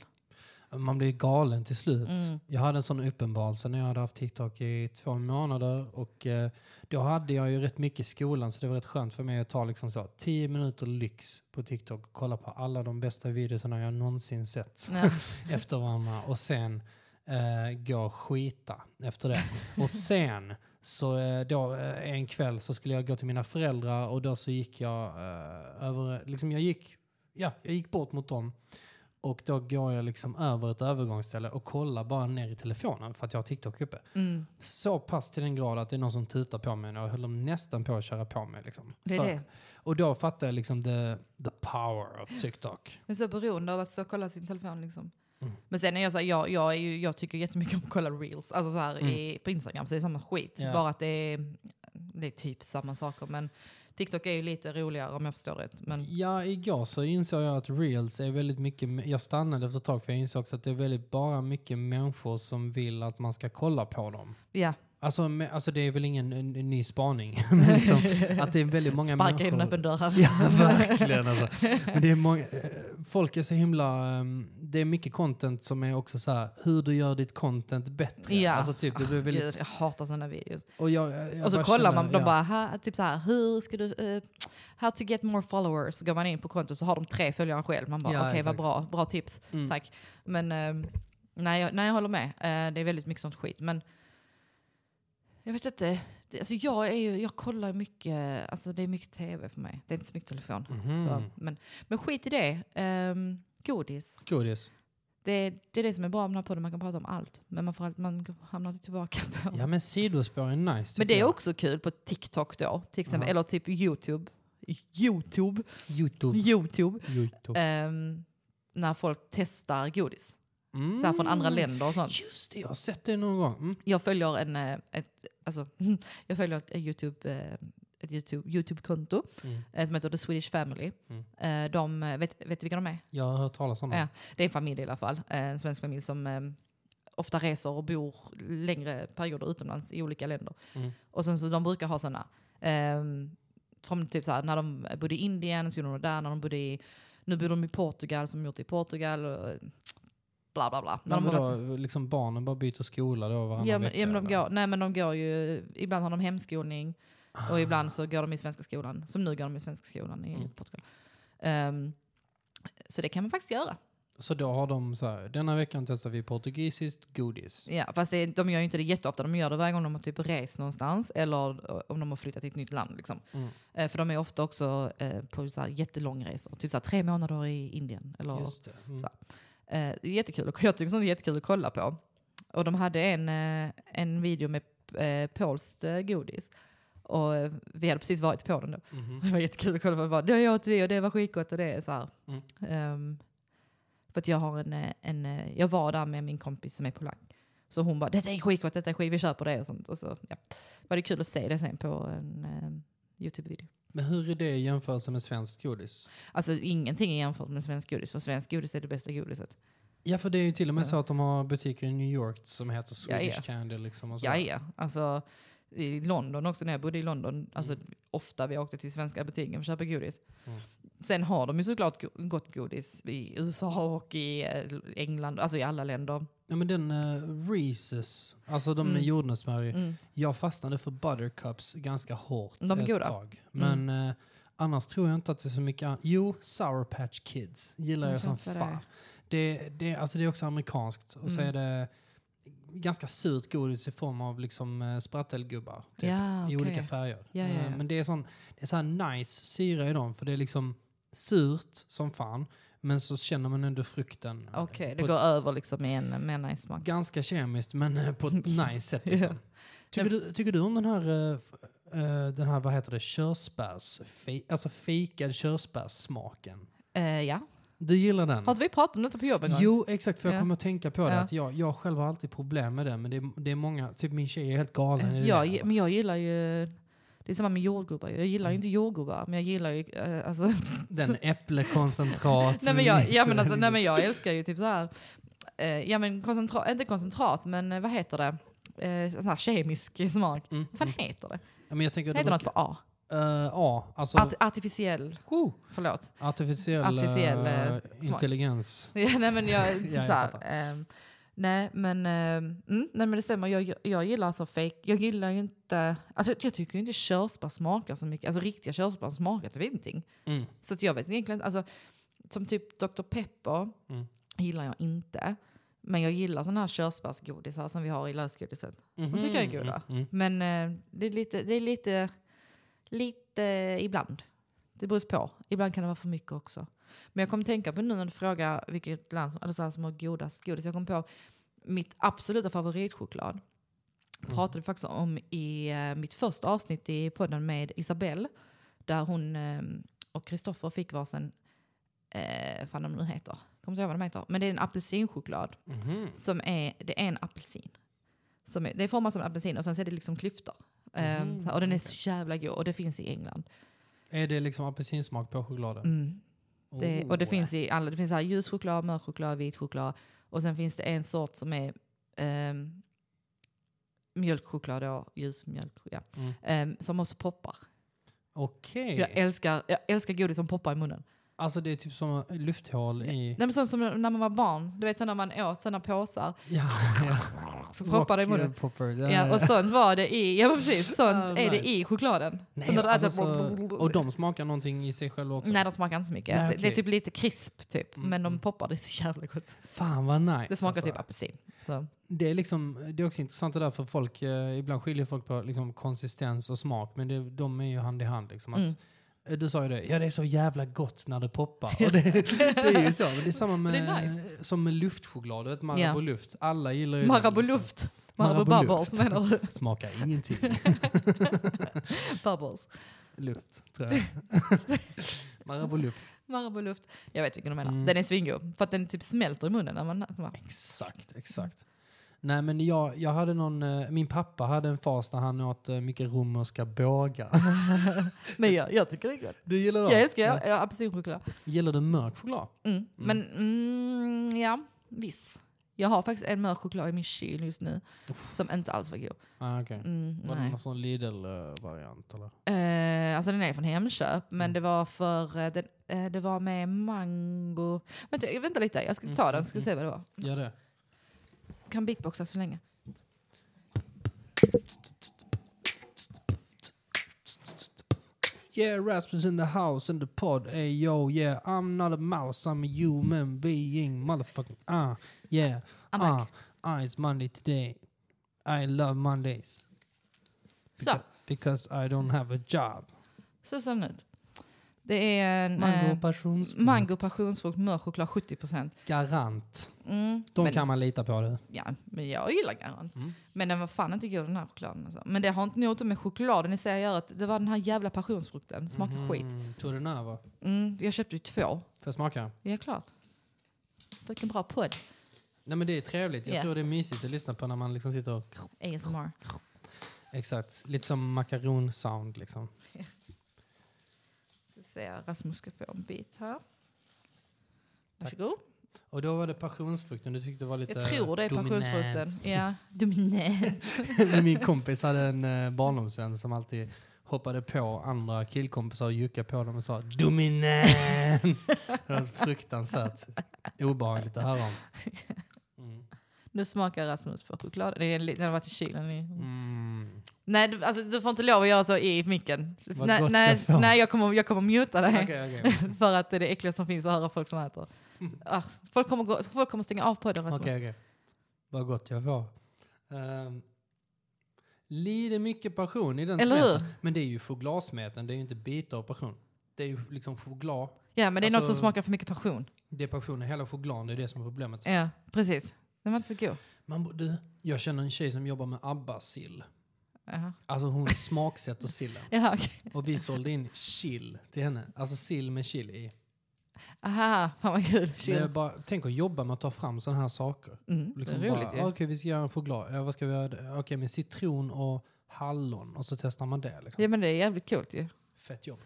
Man blir galen till slut. Mm. Jag hade en sån uppenbarelse när jag hade haft TikTok i två månader och eh, då hade jag ju rätt mycket i skolan så det var rätt skönt för mig att ta liksom så 10 minuter lyx på TikTok och kolla på alla de bästa videorna jag någonsin sett Ja. efter varandra och sen eh, gå och skita efter det. Och sen så eh, då eh, en kväll så skulle jag gå till mina föräldrar och då så gick jag eh, över, liksom jag gick, ja, jag gick bort mot dem och då går jag liksom över ett övergångsställe och kollar bara ner i telefonen för att jag har TikTok uppe. Mm. Så pass till den grad att det är någon som tutar på mig och jag höll dem nästan på att köra på mig. Liksom. Det är för, det. Och då fattar jag liksom the, the power of TikTok. Jag är så beroende av att så kolla sin telefon liksom. Mm. Men sen är jag så här, jag, jag, är ju, jag tycker jättemycket om att kolla reels, alltså så här i, på Instagram så är det samma skit. Mm. Ja. Bara att det är, det är typ samma saker. Men TikTok är ju lite roligare om jag förstår rätt. Men Ja, igår så insåg jag att reels är väldigt mycket, jag stannade efter ett tag för jag insåg också att det är väldigt bara mycket människor som vill att man ska kolla på dem. ja, Alltså, med, alltså det är väl ingen en, en ny spaning. Men liksom, att det är väldigt många sparka in en människor öppen dörr här. Ja, verkligen alltså. Men det är många, eh, folk är så himla, ehm, det är mycket content som är också så här, hur du gör ditt content bättre. Ja. Ah, Alltså typ, det blir Gud, väldigt... jag hatar sådana videos. Och, jag, jag och så bara kollar känner, man, de ja. bara, här, typ så här, hur ska du, eh, how to get more followers? Så går man in på kontot så har de tre följare själv. Man bara, Ja, okej vad exakt. bra, bra tips. Mm. Tack. Men eh, nej, jag, nej, jag håller med. Eh, det är väldigt mycket sånt skit. Men jag vet inte. Det, alltså jag, är ju, jag kollar mycket, alltså det är mycket tv för mig. Det är inte så mycket telefon. Mhm. Så, men, men skit i det. Ehm, godis. Godis. Det är, det är det som är bra med den här podden, man kan prata om allt. Men man, får allt, man hamnar alltid tillbaka på... Ja men sidospår är nice. men tycker det är jag. också kul på TikTok då, till exempel. Ja. Eller typ YouTube. YouTube. Youtube. YouTube. Youtube. Ehm, när folk testar godis. Mm. Så här från andra länder och sånt. Just det, jag har sett det någon gång. Mm. Jag följer en, eh, ett, alltså, jag följer ett YouTube, eh, ett YouTube, YouTube-konto Mm. eh, som heter The Swedish Family. Mm. Eh, De, eh, vet, vet du vilka de är? Jag har hört talas om det. Ja. Det är en familj i alla fall, eh, en svensk familj som eh, ofta reser och bor längre perioder utomlands i olika länder. Mm. Och sen så de brukar ha sådana, eh, från typ så här, när de bodde i Indien så gjorde de det där, när de bodde i, nu bor de i Portugal som gjort det i Portugal och eh, bla bla bla. När Men de har varit- vadå, liksom barnen bara byter skola då varannan Ja, men, vecka? ja, men de eller? går, nej men de går ju, ibland har de hemskolning och ibland så går de i svenska skolan. Som nu går de i svenska skolan i Mm. Portugal. Ehm, så det kan man faktiskt göra. Så då har de så här, denna veckan testar vi portugisiskt godis. Ja, fast det, de gör ju inte det jätteofta, de gör det varje gång de har typ rest någonstans eller eh, om de har flyttat till ett nytt land. Liksom. Mm. Eh, för de är ofta också eh, på så här jättelångresor, typ så här tre månader i Indien. Eller, Just det. Mm. Så. Eh, jättekul. Och Jag tycker sånt är jättekul att kolla på. Och de hade en, eh, en video med eh, polskt eh, godis. Och eh, vi hade precis varit på den då. Mhm. Det var jättekul att kolla på. Bara, det åt vi och det var skitgott och det är så här. Mm. Ehm, för att jag har en, eh, en, eh, jag var där med min kompis som är polack. Så hon bara, detta är skitgott, detta är skit, vi köper det och sånt. Och så ja. var det kul att se det sen på en eh, YouTube-video. Men hur är det i jämförelse med svenskt godis? Alltså ingenting jämfört med svensk godis, för svensk godis är det bästa godiset. Ja, för det är ju till och med Ja. så att de har butiker i New York som heter Ja, Swedish ja. Candy liksom. Och så. Ja, ja. Alltså, I London också, när jag bodde i London, alltså, ofta vi åkte till svenska butiken för att köpa godis. Mm. Sen har de ju såklart go- gott godis i USA och i eh, England, alltså i alla länder. Ja, men den uh, Reeses, alltså de med Mm. jordnötssmör i. Mm. Jag fastnade för buttercups ganska hårt De är ett goda. tag. Mm. Men eh, annars tror jag inte att det är så mycket an- Jo, Sour Patch Kids gillar Jag jag vet som inte vad det är. fan. Det, det, alltså det är också amerikanskt. Och så Mm. är det ganska surt godis i form av liksom eh, sprattelgubbar. Typ, Ja, I okej. olika färger. Ja, ja, Eh, ja. Men det är, sån, det är så här nice syra i dem för det är liksom surt som fan. Men så känner man ändå frukten. eh, Okej, på det går ett- över liksom i en med en nice smak. Ganska kemiskt men eh, på ett nice sätt. Ja. Liksom. Tycker, du, tycker du om den här, eh, f- eh, den här vad heter det, körsbärs, fe, alltså fejkad körsbärssmaken? Eh, ja. Du gillar den? Har inte vi pratat om detta på jobbet en gång? Mm. Jo, exakt. För jag Ja. kommer att tänka på det. Ja. Att jag, jag själv har alltid problem med det. Men det är, det är många, typ min tjej är helt galen i det. jag, där, alltså. Mm. Men jag gillar ju... Det är samma med jordgubbar. Jag gillar ju inte jordgubbar, men jag gillar ju... eh, alltså, Den äpplekoncentrat. Nej men, jag, ja, men alltså, nej men Mm. jag älskar ju typ så här, eh, ja men koncentrat, inte koncentrat men eh, vad heter det? Eh, sån här kemisk smak. Mm, Vad fan mm. heter det? Ja, men jag tänker... Heter något på A? Eh, ja, alltså Art, artificiell, oh, förlåt. artificiell, Artificiell, eh, eh, smak. intelligens. Ja, nej men jag, typ Ja, jag så här, fattar. ehm, nej men, ehm, mm, nej men det stämmer, jag, jag, jag gillar alltså fake, jag gillar ju inte, alltså jag tycker ju inte körsbär smakar så mycket, alltså riktiga körsbär smakar typ ingenting. Mm. Så att jag vet egentligen alltså som typ Dr. Pepper Mm. gillar jag inte. Men jag gillar sådana här körsbärsgodisar som vi har i lösgodiset. Mhm, tycker jag är goda. mm, mm. Men eh, det är lite, det är lite, lite ibland. Det beror på. Ibland kan det vara för mycket också. Men jag kommer tänka på nu när du frågar vilket land som, eller så här, som har godast godis. Jag kom på mitt absoluta favoritchoklad. Pratade vi faktiskt om i eh, mitt första avsnitt i podden med Isabelle. Där hon eh, och Kristoffer fick varsin, eh, fan de nu heter, kommer inte ihåg vad de heter. Men det är en apelsinchoklad Mhm. som är, det är en apelsin. Som är, det är format som en apelsin och sen så är det liksom klyftor. Ehm, Mhm, så- och den är okej. så jävla god och det finns i England. Är det liksom apelsinsmak på chokladen? Mm. Det, och det Oh. finns i alla, det finns så här ljus choklad, mörk choklad, vit choklad. Och sen finns det en sort som är ehm, mjölkchoklad då, ljus mjölk, ja. Mm. Ehm, som också poppar. Okej. Jag, älskar, jag älskar godis som poppar i munnen. Alltså det är typ som lufthål i... Nej, men sånt som när man var barn, du vet så när man åt sådana påsar Ja, ja. så poppar det i Rock, munnen. eh, popper. Ja, och sånt var det i, ja men precis, sånt Ah, är det nice. i chokladen. Nej, så när det alltså, är så- så, och de smakar någonting i sig själva också? Nej, de smakar inte så mycket. Nej, Det- Det är okej. typ lite krisp typ, Mm, men de mm. poppar, det är så jävla gott. Fan vad nice. Det smakar alltså. typ apelsin. Så. Det är, liksom, det är också intressant det där för folk, eh, ibland skiljer folk på liksom, konsistens och smak men det, de är ju hand i hand. Liksom, att, Mm. Du sa ju det, ja det är så jävla gott när det poppar. Och det, det är ju så. Men det är samma med, Det är nice. som med luftchoklad, du vet Marabou luft. Alla gillar ju den, Marabou liksom. luft. Marabou Marabou bubbles luft. menar du? Smakar ingenting. bubbles. luft, tror jag. Marabou luft. Marabou luft. Jag vet vilken du menar. Mm. Den är svingod. För att den typ smälter i munnen när man... när man- Exakt, exakt. Nej men jag, jag hade någon, eh, min pappa hade en fas när han åt eh, mycket romerska bågar. Men jag, jag tycker det är gott. Du gillar dem? Jag älskar Ja. jag, jag har apelsinchoklad. Gillar du mörk choklad? Mm. Men mm, ja, viss. Jag har faktiskt en mörk choklad i min kyl just nu som inte alls var god. Ah, okej. Mm, Var det nej. någon sån Lidl-variant eller? Eh, alltså den är från Hemköp, men Mm. det var för eh, den, eh, det var med mango. Vänta, eh, vänta lite, jag ska ta den Mm, ska se vad det var. Gör det. Kan beatboxa så länge. Yeah, Rasmus in the house in the pod. Hey yo, yeah, I'm not a mouse, I'm a human being, motherfucking ah, yeah, I'm ah, ah, it's Monday today. I love Mondays. Så, Beca- Because I don't have a job. så ser den ut. Det är en Mango mango, och passionsfrukt. eh, mango passionsfrukt, mörk choklad 70%. Garant. Mm, De men, kan man lita på det. ja, men jag gillar garan. Mm. Men den var fan inte god den här chokladen. Alltså. Men det har inte något med chokladen i sig att göra. att Det var den här jävla passionsfrukten. Den Smakar Mm. skit. Tog den över? Får Mm, jag köpte ju två. jag smaka? Ja, klart. Vilken bra podd. Nej men det är trevligt. Jag Ja. tror det är mysigt att lyssna på när man liksom sitter och... ASMR. Exakt. Lite som makaronsound liksom. Ska se, Rasmus ska få en bit här. Varsågod. Och då var det passionsfrukten du tyckte var lite Jag tror det är dominant. passionsfrukten. Ja, dominant. Min kompis hade en eh, barndomsvän som alltid hoppade på andra killkompisar och juckade på dem och sa dominans. det var så fruktansvärt obehagligt att höra om. Mm. Nu smakar Rasmus på choklad. Det är en li- Den har varit i kylen. I. Mm. Nej, du, alltså, du får inte lov att göra så i micken. Vad Nej, gott nej, jag får. nej, jag kommer, jag kommer muta dig. Okej, okej. Mm. För att det är det äckliga som finns att höra folk som äter. Ah, folk, kommer gå, folk kommer stänga av podden Rasmus. Okej, okej. Vad gott jag får. Um, lite mycket passion i den Eller smeten. hur? Men det är ju chokladsmeten, det är ju inte bitar av passion. Det är ju liksom choklad, Ja, men det är något som Alltså- smakar för mycket passion. det är passionen, hela chokladen, det är det som är problemet. Ja, precis. Den var inte så god. Man, bo- du, jag känner en tjej som jobbar med ABBA-sill. Jaha. Alltså hon smaksätter sillen. Jaha, okej. Och vi sålde in chill till henne. Alltså sill med chili i. Aha, fan vad kul. Det är Chill. bara, tänk att jobba med att ta fram sådana här saker. Mm, det är Liksom roligt bara, ju. Okej, vi ska göra en choklad. Ja, vad ska vi göra? Okej, med citron och hallon. Och så testar man det. Liksom. Ja, men det är jävligt coolt ju. Fett jobb.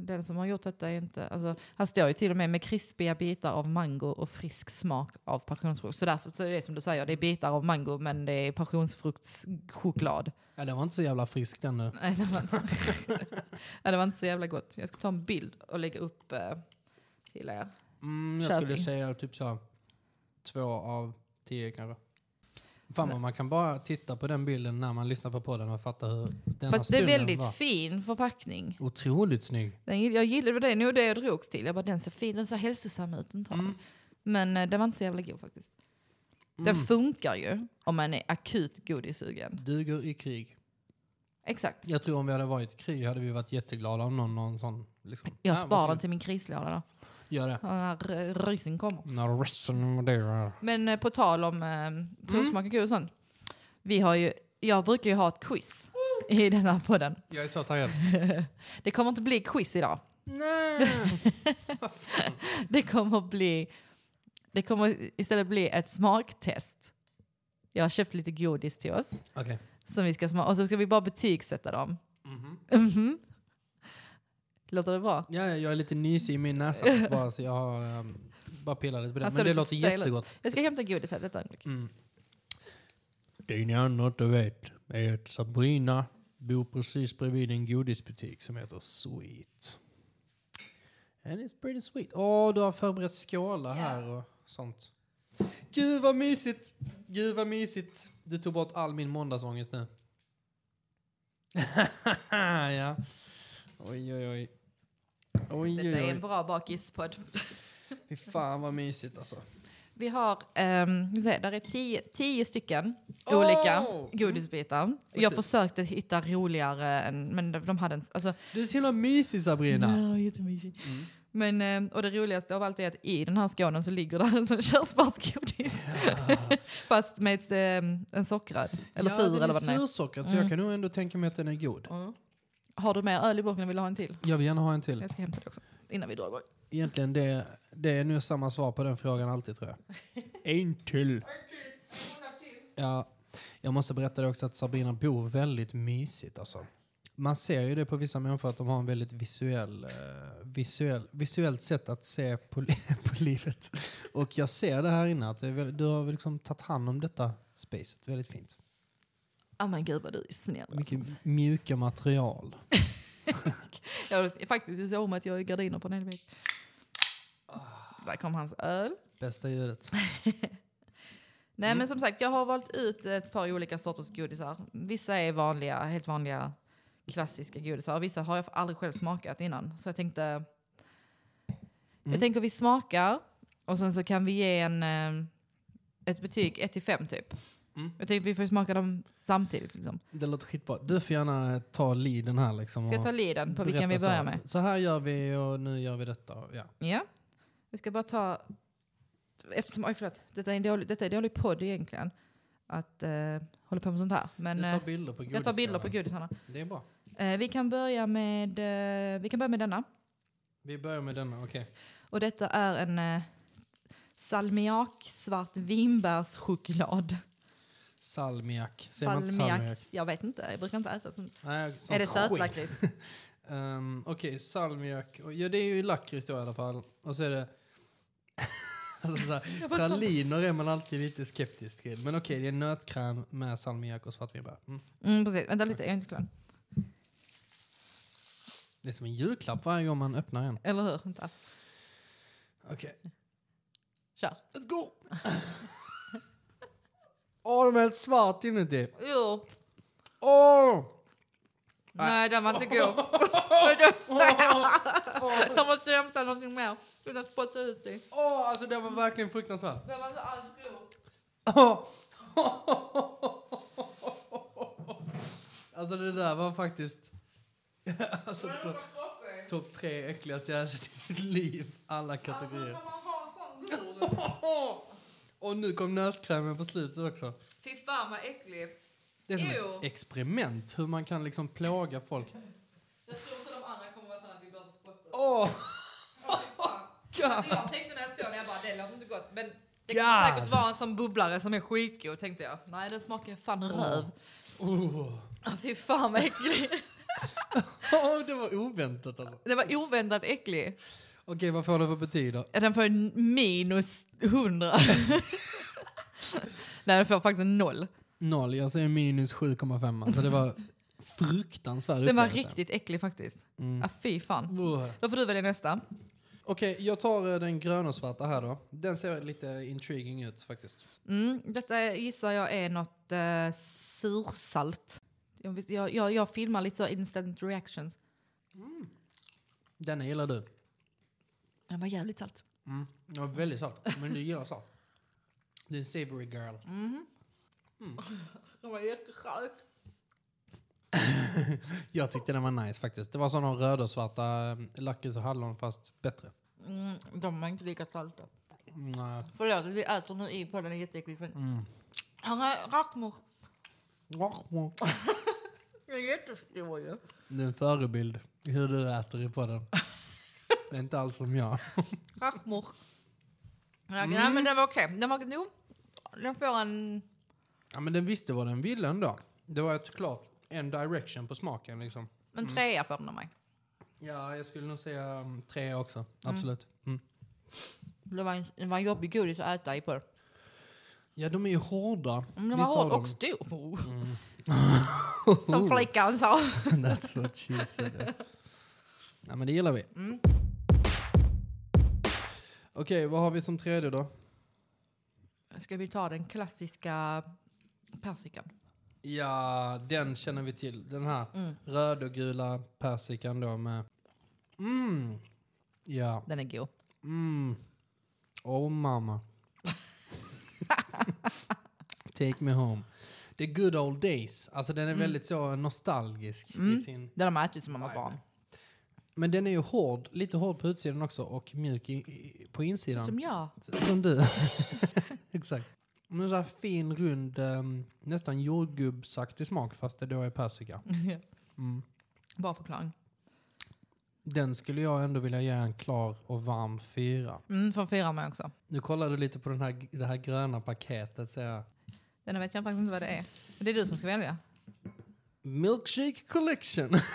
Den som har gjort detta är inte... Alltså, här står ju till och med med krispiga bitar av mango och frisk smak av passionsfrukt. Så därför så är det som du säger, det är bitar av mango men det är passionsfruktschoklad. Ja, det var inte så jävla friskt ännu. Nej, det var inte, ja, det var inte så jävla gott. Jag ska ta en bild och lägga upp eh, till er. Mm, jag Köping. skulle säga typ så här, två av tio kanske. Fan vad man kan bara titta på den bilden när man lyssnar på podden och fatta hur den här Fast det är stunden väldigt var. fin förpackning. Otroligt snygg. Den, gill- jag gillade det, nog det jag drogs till. Jag bara, den ser fin, den ser hälsosam ut den tar. Mm. Men eh, den var inte så jävla god faktiskt. Mm. Den funkar ju om man är akut godissugen. Duger i krig. Exakt. Jag tror om vi hade varit i krig hade vi varit jätteglada om någon, någon sån... Liksom, Jag "Ah, sparar den varsågod." till min krislåda då. Gör det. När eh, rysen kommer. När resten invaderar. Men eh, på tal om eh, provsmak och kul och sånt. Vi har ju, jag brukar ju ha ett quiz i den här podden. Jag är så taggad. Det kommer inte bli quiz idag. Nej! Det kommer bli, det kommer istället bli ett smaktest. Jag har köpt lite godis till oss Okej. som vi ska smaka och så ska vi bara betygsätta dem. Mhm. Mhm. Låter det bra? Ja, ja, jag är lite nysig i min näsa faktiskt bara så jag har ehm, bara pillat lite på det. Han Men ser det Alltså, lite låter stel ut. jättegott. Jag ska hämta godis här ett ögonblick. Mm. Det ni andra inte vet är att Sabrina bor precis bredvid en godisbutik som heter Sweet. And it's pretty sweet. Åh, du har förberett skålar här och sånt. Gud vad mysigt! Gud vad mysigt! Du tog bort all min måndagsångest nu. ja. Oj, oj, oj. Oj, Detta är oj, en oj. bra bakispodd. Fy fan vad mysigt alltså. Vi har, um, se, där är tio, tio stycken olika Åh! Mm. godisbitar. Jag försökte hitta roligare, än, men de- de hade en... Alltså, Du är så himla mysig Sabrina. Ja, jättemysig. Mm. Men, ehm, och det roligaste av allt är att i den här skålen så ligger där en sån körsbärsgodis. Fast med ett, ehm, en sockrad, eller ja, sur eller den vad är den är. sursockrad så jag kan nog ändå tänka mig att den är god. Mm. Har du mer öl i burken eller vill du ha en till? Jag vill gärna ha en till. Jag ska hämta det också, innan vi drar igång. Egentligen det, det är nu samma svar på den frågan alltid tror jag. En till. Ja, jag måste berätta det också att Sabrina bor väldigt mysigt alltså. Man ser ju det på vissa människor att de har en väldigt visuell, eh, visuell, visuellt sätt att se på, li- på livet. Och jag ser det här inne att det är väldigt, du har väl liksom tagit hand om detta spacet väldigt fint. Ja Ah, men gud vad du är snäll. Alltså. Mycket mjuka material. Jag, faktiskt, jag såg mig att jag är gardiner på en hel vägg. Ah. Där kom hans öl. Bästa ljudet. Nej Mm. men som sagt, jag har valt ut ett par olika sorters godisar. Vissa är vanliga, helt vanliga klassiska godisar. Och vissa har jag aldrig själv smakat innan. Så jag tänkte, Mm. jag tänker vi smakar och sen så kan vi ge en, eh, ett betyg 1 till 5 typ. Mm. Jag tänkte vi får ju smaka dem samtidigt liksom. Det låter skitbra. Du får gärna eh, ta leaden här liksom. Ska jag och- ta liden på vilken vi Berätta så börjar här. med? Så här gör vi och nu gör vi detta. Ja. Ja. Vi ska bara ta... Eftersom, oj förlåt, detta är en dålig, detta är en dålig podd egentligen. Att eh, hålla på med sånt här. Men, Du eh, tar bilder på jag tar bilder på godisskålen. godisarna. Det är bra. Eh, vi, kan börja med, eh, vi kan börja med denna. Vi börjar med denna, okej. Och detta är en eh, salmiak-svart vinbärschoklad. Salmiak. Säger man inte salmiak? Jag vet inte, jag brukar inte äta sånt. Nej, sånt är det skit. sötlakrits? Ehm, okej, salmiak. Och- Ja, det är ju lakrits då i alla fall. Och så är det... alltså, så här, Jag bara sa- praliner är man alltid lite skeptisk till. Men okej, det är nötkräm med salmiak och svartvinbär. Mm. Mm, precis. Vänta lite, jag är inte klar. Det är som en julklapp varje gång man öppnar en. Eller hur? Vänta. Okej, Kör. let's go! Åh, de är helt svart inuti. Jo. Åh! Nej, den var inte god. Jag måste hämta någonting mer. Kunna spotta ut det. Åh, alltså det var verkligen fruktansvärt. Den var inte alls god. alltså det där var faktiskt alltså, to- topp tre äckligaste jag ätit i mitt liv. Alla kategorier. Och nu kom nötkrämen på slutet också. Fy fan vad äcklig. Det är som ett Ew. experiment hur man kan liksom plåga folk. Jag tror inte de andra kommer vara sådana att vi behöver spotta. Åh, Ja, fy fan. God. Alltså, jag tänkte när jag såg den, jag bara det låter inte gott. Men det God. kan säkert vara en sån bubblare som är skitgod tänkte jag. Nej den smakar Mm. fan röv. Åh. Oh, fy fan vad äcklig. Åh, det var oväntat alltså. Det var oväntat äcklig. Okej, vad får det för betyg då? Ja, Den får en minus 100. Nej den får faktiskt en noll. Noll, jag säger minus 7,5. Alltså det var fruktansvärd Den var upplevelse. riktigt äcklig faktiskt. Mm. Ja, fy fan. Åh. Då får du välja nästa. Okej, jag tar eh, den gröna och svarta här då. Den ser lite intriguing ut faktiskt. Mm, detta gissar jag är något eh, sursalt. Jag, vis- jag, jag, jag filmar lite så instant reactions. Den gillar du. Den var jävligt salt. Mm. Den var väldigt salt, men du gillar salt. Du är en savory girl. Mm. Den var jättesalt. Jag tyckte den var nice faktiskt. Det var som de röda och svarta eh, lakrits och hallon fast bättre. Mm, de var inte lika salta. Mm. Förlåt, vi äter nu i på den är jätteäcklig. men- Mm. Han är rackmor. äh. Den är jättestor ju. Du är en förebild i hur du äter i podden. Det är inte alls som jag. Rackmor. Ja, Nej men den var okej. Den var nog. Den får en... Ja, men den visste vad den ville ändå. Det var ett klart en direction på smaken liksom. En trea får den av mig. Ja, jag skulle nog säga mm, tre också. Absolut. Mm. Det var en, det var en jobbig godis att äta i på. Ja, de är ju hårda. Mm, Den var vissa av hård dem. Mm. och stor. Som flickan sa. That's what she said. ja, men det gillar vi. Mm. Okej, vad har vi som tredje då? Ska vi ta den klassiska persikan? Ja, den känner vi till. Den här Mm. rödgula persikan då med... Mm. Ja. Den är god. Mm. Oh mamma. Take me home. The good old days. Alltså den är Mm. väldigt så nostalgisk i Mm. sin... Det har man ätit som man var vibe. barn. Men den är ju hård, lite hård på utsidan också och mjuk i, i, på insidan. Som jag. Som du. Exakt. Men så här fin, rund, ehm, nästan jordgubbsaktig smak fast det då är persika. Mm. Bra förklaring. Den skulle jag ändå vilja ge en klar och varm fyra. Mm, får fira mig också. Nu kollar du lite på den här, det här gröna paketet. Så jag, Den vet jag faktiskt inte vad det är. Men det är du som ska välja. Milkshake collection.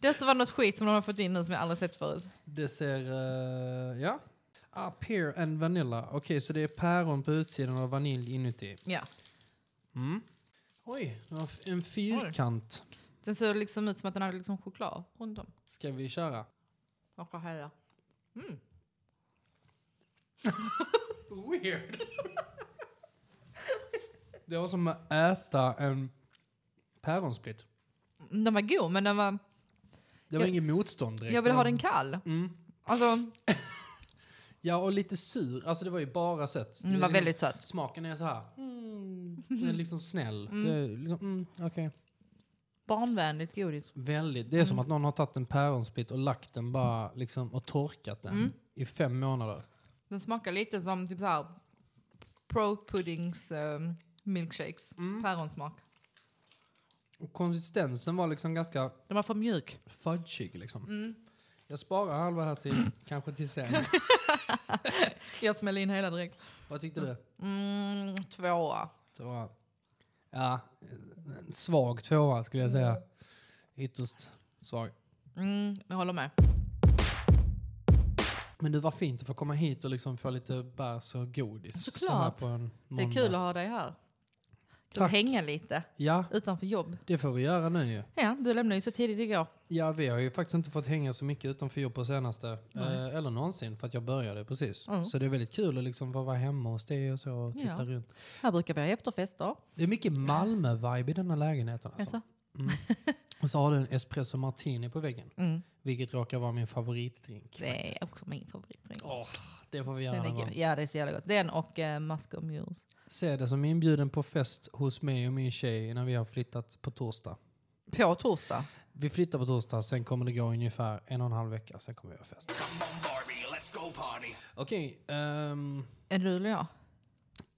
Det så var något skit som de har fått in nu som jag aldrig sett förut. Det ser, eh, ja. Ah, pear and vanilla. Okej, så det är päron på utsidan och vanilj inuti. Ja. Mm. Oj, det var f- en fyrkant. Den såg liksom ut som att den hade liksom choklad runt om. Ska vi köra? Och här. Mm. Weird. det var som att äta en päronsplit. Den var god men den var... Det var Jag- ingen motstånd direkt. Jag vill Det ha var- den kall. Mm. Alltså, Ja, och lite sur. Alltså det var ju bara sött. liksom- den Mm, var väldigt söt. Smaken är så här. Mm, den är liksom snäll. Det är liksom, mm, okej. Barnvänligt godis. Väldigt. Det är Mm. som att någon har tagit en päronsbit och lagt den bara liksom och torkat den Mm. i fem månader. Den smakar lite som typ så här pro puddings ehm, milkshakes. Mm. Päronsmak. Och konsistensen var liksom ganska Den var för mjuk. fudgig liksom. Mm. Jag sparar halva här till kanske till sen. Jag smällde in hela direkt. Vad tyckte du? Mm, tvåa. Det var, ja, en svag tvåa skulle jag säga. Ytterst svag. Mm, jag håller med. Men det var fint att få komma hit och liksom få lite bärs och godis. Såklart. så här på en Det är måndag. kul att ha dig här. Kul att Tack. hänga lite Ja, utanför jobb. det får vi göra nu ju. Ja, du lämnade ju så tidigt igår. Ja, vi har ju faktiskt inte fått hänga så mycket utanför jobb på senaste. Nej. Eh, eller någonsin, för att jag började precis. Mm. Så det är väldigt kul att liksom få vara hemma hos dig och så och titta Ja. runt. Här brukar vi ha efterfester. Det är mycket Malmö-vibe i denna lägenheten. Alltså. Alltså. Och så har du en espresso martini på väggen, Mm. vilket råkar vara min favoritdrink. Det är faktiskt. också min favoritdrink. Åh, det får vi Den göra är någon god. gång. Ja, det är så jävla gott. Den och eh, maskomjuice. Se det som inbjuden på fest hos mig och min tjej när vi har flyttat på torsdag. På torsdag. Vi flyttar på torsdag, sen kommer det gå ungefär en och en halv vecka, sen kommer vi ha fest. Come on, Barbie, let's go party. Okej, ehm, Är det du eller jag?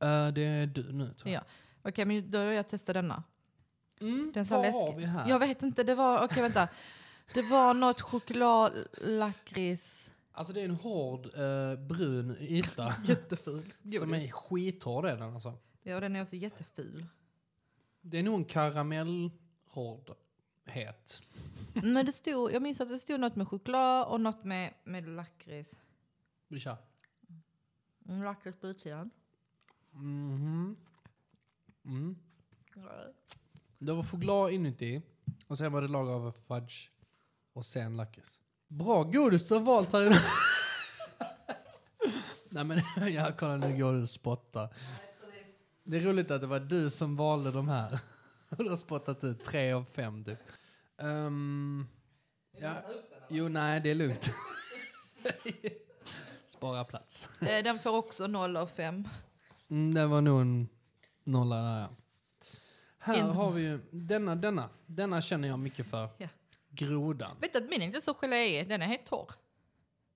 eh, det är du nu tror jag. Ja. Okej, men då har jag testat denna. Mm, Den ser vad läskig. har vi här? Jag vet inte, det var... Okej, vänta. Det var något choklad, lakrits... Alltså det är en hård eh, brun yta. Jätteful. Som är skithård är den alltså. Ja, den är också jätteful. Det är nog en karamellhårdhet. Men det stod, jag minns att det stod något med choklad och något med, med lakrits. Vi kör. Mm, lakrits på utsidan. Mhm. Mm. Det var choklad inuti och sen var det lag av fudge och sen lakrits. Bra godis du har valt här idag. Nej men jag kolla nu går du och spottar. Det är roligt att det var du som valde de här. Du har spottat ut tre av fem typ. Ehm, ja. Jo nej det är lugnt. Spara plats. Eh, Den får också 0 av 5. Mm, det var nog en nolla där ja. Här En- har vi ju, denna, denna, denna känner jag mycket för. Ja. Grodan. Vet du att min är inte så geléig, den är helt torr.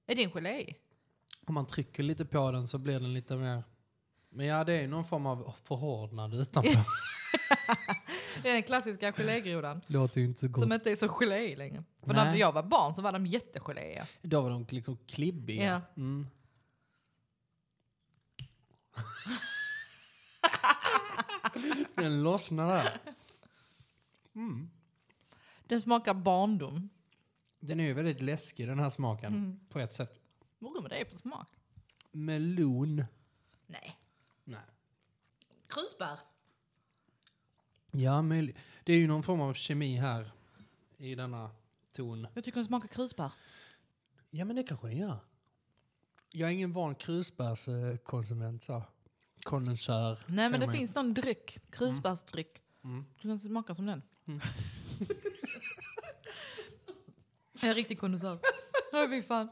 Är din geléig? Om man trycker lite på den så blir den lite mer... Men ja, det är någon form av förhårdnad utanpå. Det är den klassiska gelégrodan. Låter ju inte så gott. Som inte är så geléig längre. För när Nej. jag var barn så var de jättegeléiga. Då var de liksom klibbiga. Ja. Mm. den lossnar där. Den smakar barndom. Den är ju väldigt läskig den här smaken. Mm. På ett sätt. Vad med det är för smak? Melon. Nej. Nej. Krusbär. Ja, möjligt. Det är ju någon form av kemi här i denna ton. Jag tycker den smakar krusbär. Ja, men det kanske den gör. Jag är ingen van krusbärskonsument, så. Kondensör. Nej men säger det man ju. finns någon dryck, krusbärsdryck. Mm. Den smakar som den. en riktig kondensör. Åh fy fan.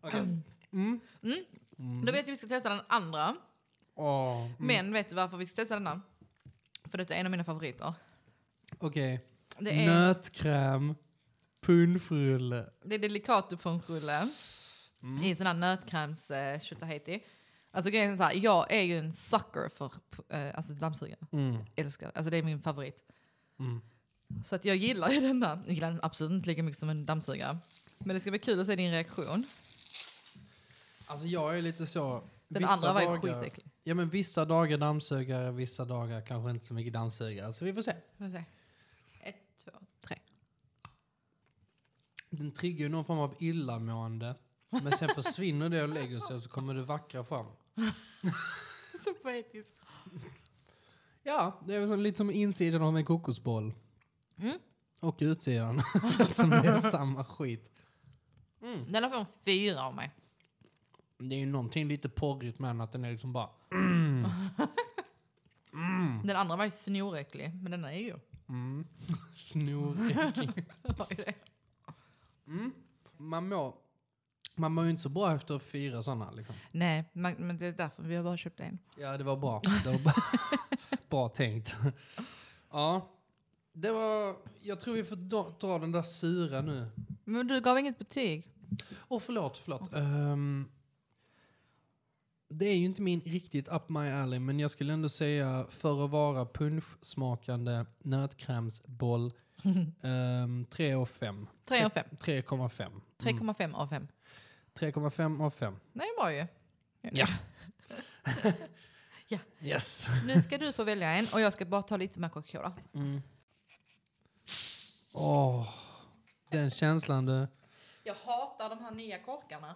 Okej. Mm. Mm. Mm. ska testa den andra. Åh, mm. Men vet du varför vi ska testa denna? För detta är en av mina favoriter. Okej. Det är, Nötkräm, punschrulle. Mm. det är Delicatopunschrulle i sån här nötkräms eh, tjotahejti. Alltså grejen är så här, jag är ju en sucker för eh, alltså dammsugare. Mm. Älskar, alltså det är min favorit. Mm. Så att jag gillar ju denna. Jag gillar den absolut inte lika mycket som en dammsugare. Men det ska bli kul att se din reaktion. Alltså jag är lite så... Den vissa andra var ju dagar- skitäcklig. Ja men vissa dagar dammsugare, vissa dagar kanske inte så mycket dammsugare. Så vi får se. Får vi se. Ett, två, tre. Den triggar ju någon form av illamående. Men sen försvinner det och lägger sig och så kommer det vackra fram. Så poetiskt. Ja, det är väl så- lite som insidan av en kokosboll. Mm. Och utsidan. som är samma skit. Den har fått en fyra av mig. Det är ju någonting lite porrigt med den, att den är liksom bara... Den andra var ju snoräcklig, men denna är ju... Mm, snorig. Vad är det? Mm. Man mår, man mår ju inte så bra efter fyra sådana. Liksom. Nej, man, men det är därför vi har bara köpt en. Ja, det var bra. Det var bra, bra tänkt. Ja, det var... Jag tror vi får dra- dra den där sura nu. Men du gav inget betyg. Åh, förlåt, förlåt. Ehm, det är ju inte min riktigt up my alley, men jag skulle ändå säga för att vara punschsmakande nötkrämsboll, um, 3 och 5. Tre av fem. 3,5. 3,5 av fem. 3,5 av 5. Nej, det var ju. Ja. Ja. Yes. Nu ska du få välja en och jag ska bara ta lite mer Coca-Cola. Åh, den känslan du. Jag hatar de här nya korkarna.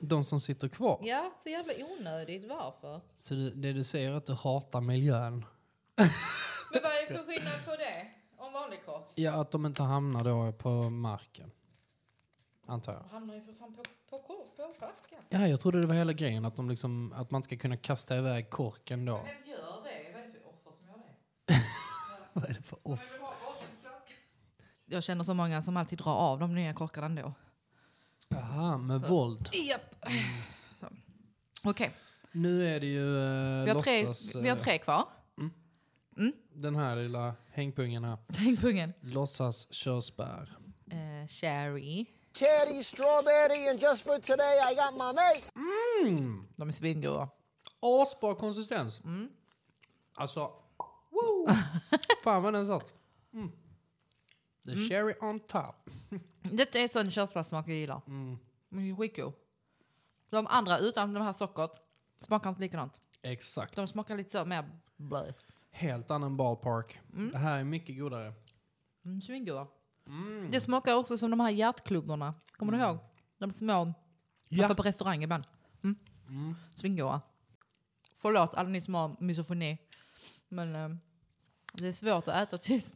De som sitter kvar. Ja, så jävla onödigt. Varför? Så du, det du säger är att du hatar miljön. Men vad är för skillnad på det? Om vanlig kork? Ja, att de inte hamnar då på marken. Antar jag. Hamnar ju för fan på, på kork, på flaskan. Ja, jag trodde det var hela grejen. Att, de liksom, att man ska kunna kasta iväg korken då. Vem gör det? Vad är det för offer som gör det? Vad är det för off? Jag känner så många som alltid drar av de nya korkarna ändå. Aha, med våld. Japp. Så. Okej, Nu är det ju eh, vi, har tre- låtsas... vi har eh, tre kvar. Den här lilla hängpungen här. Tänk pungen. Låtsas körsbär. Eh, cherry. cherry, strawberry, and just for today I got my mate. De är svingoda. Mm, Asbra konsistens. Mm. Alltså, wow. Fan vad den satt. Mm. The cherry on top. Detta är sån körsbärssmak jag gillar. Men det är skitgod. De andra utan de här sockret smakar inte likadant. Exakt. De smakar lite så mer blö. Helt annan ballpark. Det här är mycket godare. Mm, svingoda. Mm. Det smakar också som de här hjärtklubborna. Kommer du ihåg? De små man Ja. får på restaurang ibland. Mm. Svingoda. Förlåt alla ni som har misofoni. Men eh, det är svårt att äta tyst.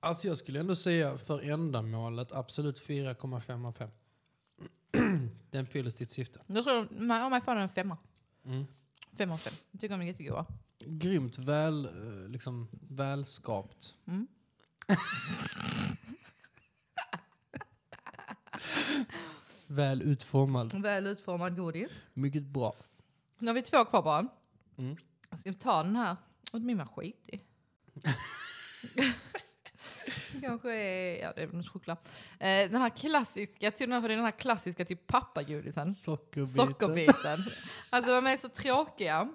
Alltså jag skulle ändå säga för ändamålet absolut 4,5 av 5. Den fyller sitt syfte. Jag tror de, nej, om jag får den en femma. Fem av fem. Jag tycker de är jättegoda. Grymt väl, eh, liksom, välskapt. väl utformad. Väl utformad godis. Mycket bra. Nu har vi två kvar bara. Mm. Ska vi ta den här? Och min var skitig. Kanske är, ja det är väl någon choklad. Eh, den här klassiska, jag tog den här för det är den här klassiska typ pappagodisen. Sockerbiten. Sockerbiten. Alltså de är så tråkiga.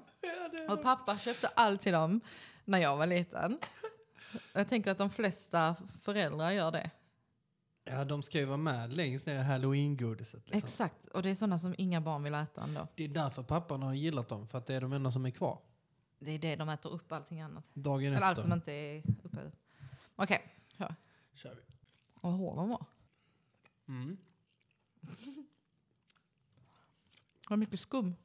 Och pappa köpte alltid dem när jag var liten. Jag tänker att de flesta föräldrar gör det. Ja, de ska ju vara med längst ner i halloween-godiset. Liksom. Exakt, och det är sådana som inga barn vill äta ändå. Det är därför pappan har gillat dem, för att det är de enda som är kvar. Det är det, de äter upp allting annat. Dagen Eller alltså, efter. allt som inte är uppätet. Okej, kör. Kör vi. Vad hård de var. Mm. Det var mycket skum.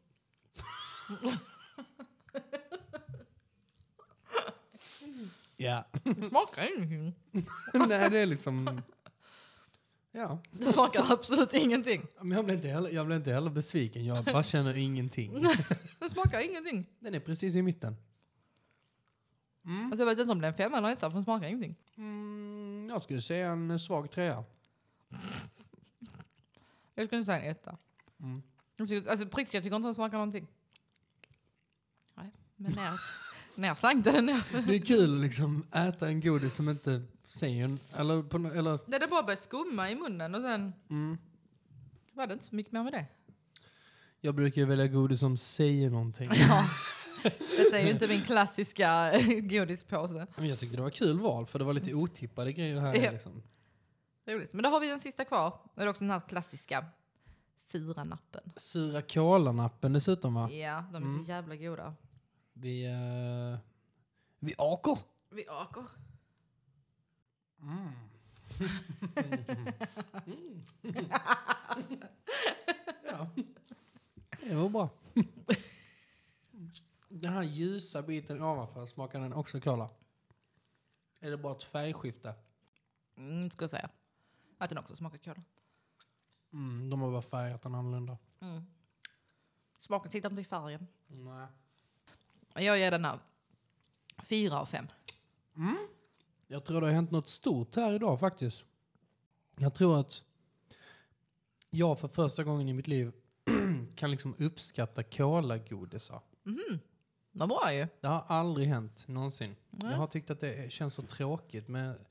Ja. Det smakar ingenting. Nej, det är liksom... Ja. Det smakar absolut ingenting. Men jag blev, inte heller, jag blev inte heller besviken, jag bara känner ingenting. Det smakar ingenting. Den är precis i mitten. Alltså jag vet inte om det är en femma eller en etta, för den smakar ingenting. Mm, jag skulle säga en svag trea. Jag skulle säga en etta. Mm. Jag tycker- Alltså på riktigt, jag tycker inte den smakar någonting. Nej, men när, när jag slankade den ner. Det är kul att liksom äta en godis som inte säger en, eller, på, nå- eller Det där bara började skumma i munnen och sen mm. var det inte så mycket mer med det. Jag brukar ju välja godis som säger någonting. Ja. Detta är ju inte min klassiska eh, godispåse. Men jag tyckte det var kul val för det var lite otippade grejer här. Ja. Liksom. Roligt. Men då har vi den sista kvar. Det är också den här klassiska sura nappen. Sura kolanappen dessutom va? Ja, Mm. de är så jävla goda. Vi, eh, vi åker. Vi åker. Mm. Mm. Ja. Det var bra. Den här ljusa biten ovanför smakar den också kola. Är det bara ett färgskifte? Mm, ska jag säga. Att den också smakar cola. Mm, de har bara färgat den annorlunda. Smaken sitter inte i färgen. Nej. Jag ger den här fyra av fem. Jag tror det har hänt något stort här idag faktiskt. Jag tror att jag för första gången i mitt liv kan liksom uppskatta kolagodisar. Vad bra ju. Det har aldrig hänt någonsin. Jag har tyckt att det känns så tråkigt med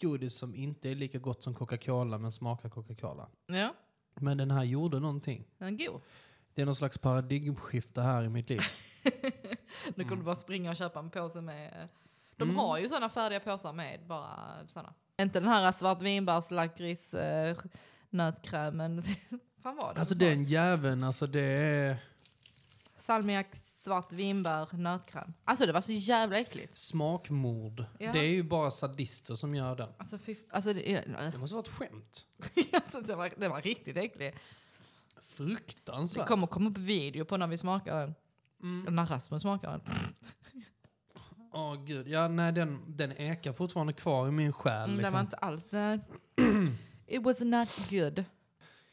godis som inte är lika gott som Coca-Cola men smakar Coca-Cola. Ja, Men den här gjorde någonting. den är god. Det är någon slags paradigmskifte här i mitt liv. Nu kommer du bara springa och köpa en påse med... eh, De har ju sådana färdiga påsar med bara sådana. Inte den här svartvinbärs eh, nötkrämen. Fan var det? Alltså den jäveln, alltså det är Salmiak, svartvinbär, nötkräm. Alltså det var så jävla äckligt. smakmord. Ja. Det är ju bara sadister som gör den. Alltså, fy, alltså, det, Det måste vara ett skämt. alltså det, var, det var riktigt äckligt. Det Fruktansvärt. kommer komma upp video på när vi smakar den. Och När Rasmus smakar den. Åh gud, ja nej den, den ekar fortfarande kvar i min själ. Mm, Det liksom. var inte alls... Det, it was not good.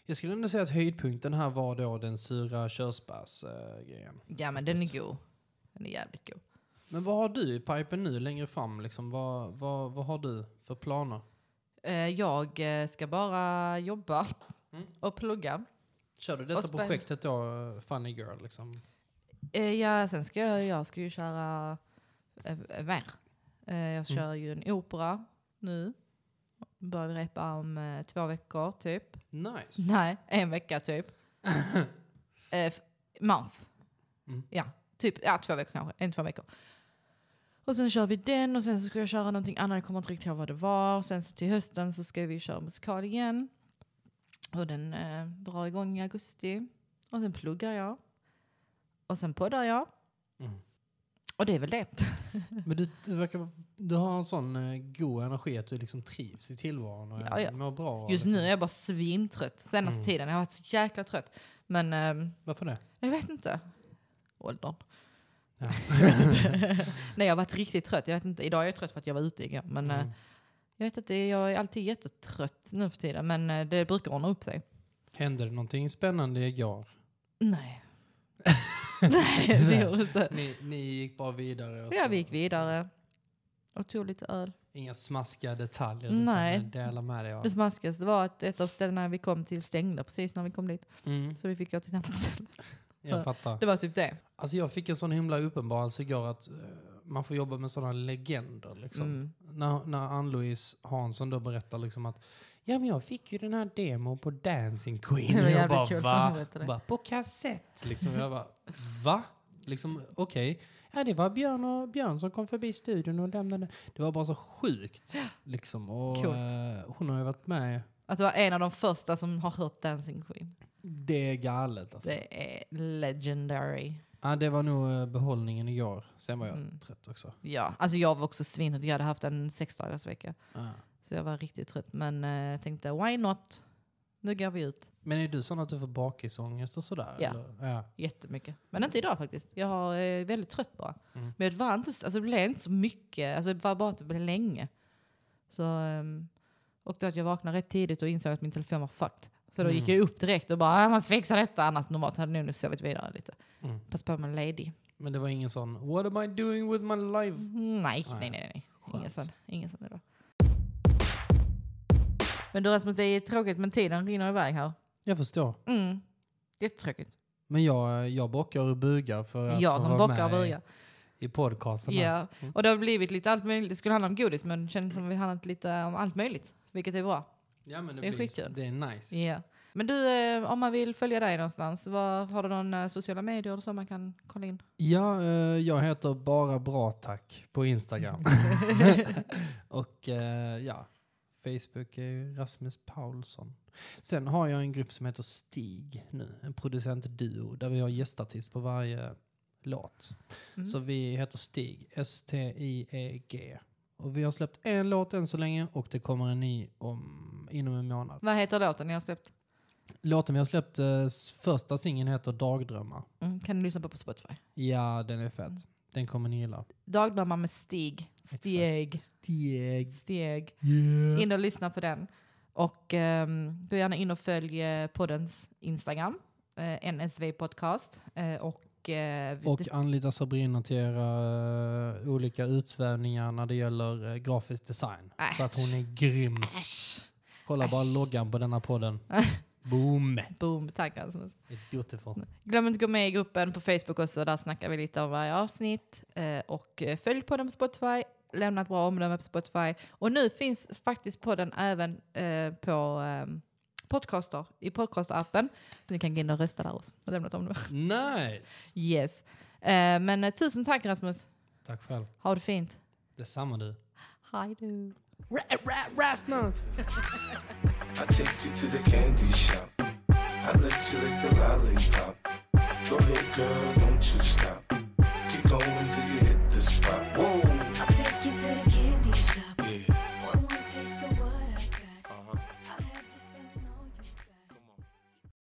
Jag skulle ändå säga att höjdpunkten här var då den sura körsbärsgrejen. Ja men den är god. Den är jävligt god. Men vad har du i pipen nu längre fram? Liksom, vad, vad, vad har du för planer? Eh, Jag eh, ska bara jobba och plugga. Kör du Och detta spänn- projektet då, eh, Funny Girl? Liksom? Eh, Ja, sen ska jag, jag ska ju köra eh, eh, mer. Eh, Jag kör ju en opera nu. Börjar repa om eh, två veckor typ. Nice. Nej, en vecka typ. eh, f- mars. Mm. Ja, typ ja, två veckor kanske. En, två veckor. Och sen kör vi den och sen så ska jag köra någonting annat. Jag kommer inte riktigt ihåg vad det var. Sen så till hösten så ska vi köra musikal igen. Och den eh, drar igång i augusti. Och sen pluggar jag. Och sen poddar jag. Mm. Och det är väl det. Men du, du, verkar, du har en sån eh, god energi att du liksom trivs i tillvaron och Ja, ja. mår bra. Just liksom. nu är jag bara svintrött. Senaste Mm. tiden. Jag har varit så jäkla trött. Men ehm, Varför det? jag vet inte. Åldern. Ja. Nej jag har varit riktigt trött. Jag vet inte. Idag är jag trött för att jag var ute igår. Men eh, Mm. jag vet att det, jag är alltid jättetrött nu för tiden. Men eh, det brukar ordna upp sig. Hände det någonting spännande igår? Nej. Nej det gjorde det inte. Ni, ni gick bara vidare? Och Ja så- vi gick vidare. Och tog lite öl. Inga smaskiga detaljer Nej. du kan dela med dig av? Det smaskigaste var att ett av ställena vi kom till stängde precis när vi kom dit. Mm, Så vi fick gå till ett annat ställe. jag fattar. Det var typ det. Alltså jag fick en sån himla uppenbarelse igår att eh, man får jobba med sådana legender. Liksom. Mm. När, när Ann-Louise Hansson då berättar liksom att ja men jag fick ju den här demon på Dancing Queen. Det var Och jag jävligt bara, kul att hon va? berättade det. bara på kassett. Liksom. Jag bara va? Liksom okej. Ja det var Björn och Björn som kom förbi studion och lämnade. Det var bara så sjukt. Liksom. Och, Coolt. eh, hon har ju varit med. Att det var en av de första som har hört Dancing Queen. Det är galet alltså. Det är legendary. Ja, det var nog eh, behållningen igår. Sen var jag Mm. trött också. Ja, alltså jag var också svintrött. Jag hade haft en sexdagarsvecka. Ja. Så jag var riktigt trött. Men eh, jag tänkte, why not? Nu går vi ut. Men är du sån att du får bakisångest och sådär? Ja. Eller? ja. Jättemycket. Men inte idag faktiskt. Jag har, är väldigt trött bara. Mm. Men det var inte, alltså det blev inte så mycket. Alltså det var bara att det blev länge. Så, ehm, och då att jag vaknade rätt tidigt och insåg att min telefon var fucked. Så då gick Mm. jag upp direkt och bara, "Ah, man ska fixa detta. Annars normalt hade jag nog sovit vidare lite. Mm. Pass på med lady. Men det var ingen sån “What am I doing with my life?” Nej, Nej. nej, nej. nej. Mm, Ingen Skönt. sån, ingen sån idag. Men du Rasmus, det är tråkigt men tiden rinner iväg här. Jag förstår. Mm. Jättetråkigt. Men jag, eh, jag bockar och bugar för att Jag få som vara bockar och med i- bugar. i podcasten. här. Ja, och det har blivit lite allt möjligt. Det skulle handla om godis men kändes som vi handlat lite om allt möjligt. Vilket är bra. ja men det, Det är blir, skitkul. Det är nice. Ja. Men du, eh, om man vill följa dig någonstans, vad, har du någon eh, sociala medier eller så man kan kolla in? Ja, eh, jag heter bara bra tack på Instagram. och eh, ja, Facebook är ju Rasmus Paulsson. Sen har jag en grupp som heter Stig nu, en producentduo där vi har gästartist på varje låt. Mm. Så vi heter Stig, S-T-I-E-G. E Och vi har släppt en låt än så länge och det kommer en ny om, inom en månad. Vad heter låten ni har släppt? Låten vi har släppt, eh, s- första singeln heter Dagdrömmar. Mm, kan du lyssna på på Spotify? Ja, den är fett. Mm. Den kommer ni gilla. Dagdrömmar med Stig. Steg. Steg. Steg. Yeah. In och lyssna på den. Och ehm, gå gärna in och följ eh, poddens Instagram, eh, NSV Podcast. Eh, och, eh, vi- Och anlita Sabrina till era eh, olika utsvävningar när det gäller eh, grafisk design. För att hon är grym. Äsch. Kolla bara Äsch. loggan på denna podden. Boom! Boom, tack Rasmus. It's beautiful. Glöm inte att gå med i gruppen på Facebook också, där snackar vi lite om varje avsnitt. Eh, och eh, följ podden på Spotify, lämna ett bra omdöme på Spotify. Och nu finns faktiskt podden även eh, på ehm, podcaster, i podcastappen. Så ni kan gå in och rösta där också och lämna ett omdöme. Nice! Yes. Eh, men eh, tusen tack Rasmus. Tack själv. Ha det fint. Detsamma du. Hej du. Rasmus! I take you to the candy shop. I let you lick the lollipop. Go ahead, girl, don't you stop.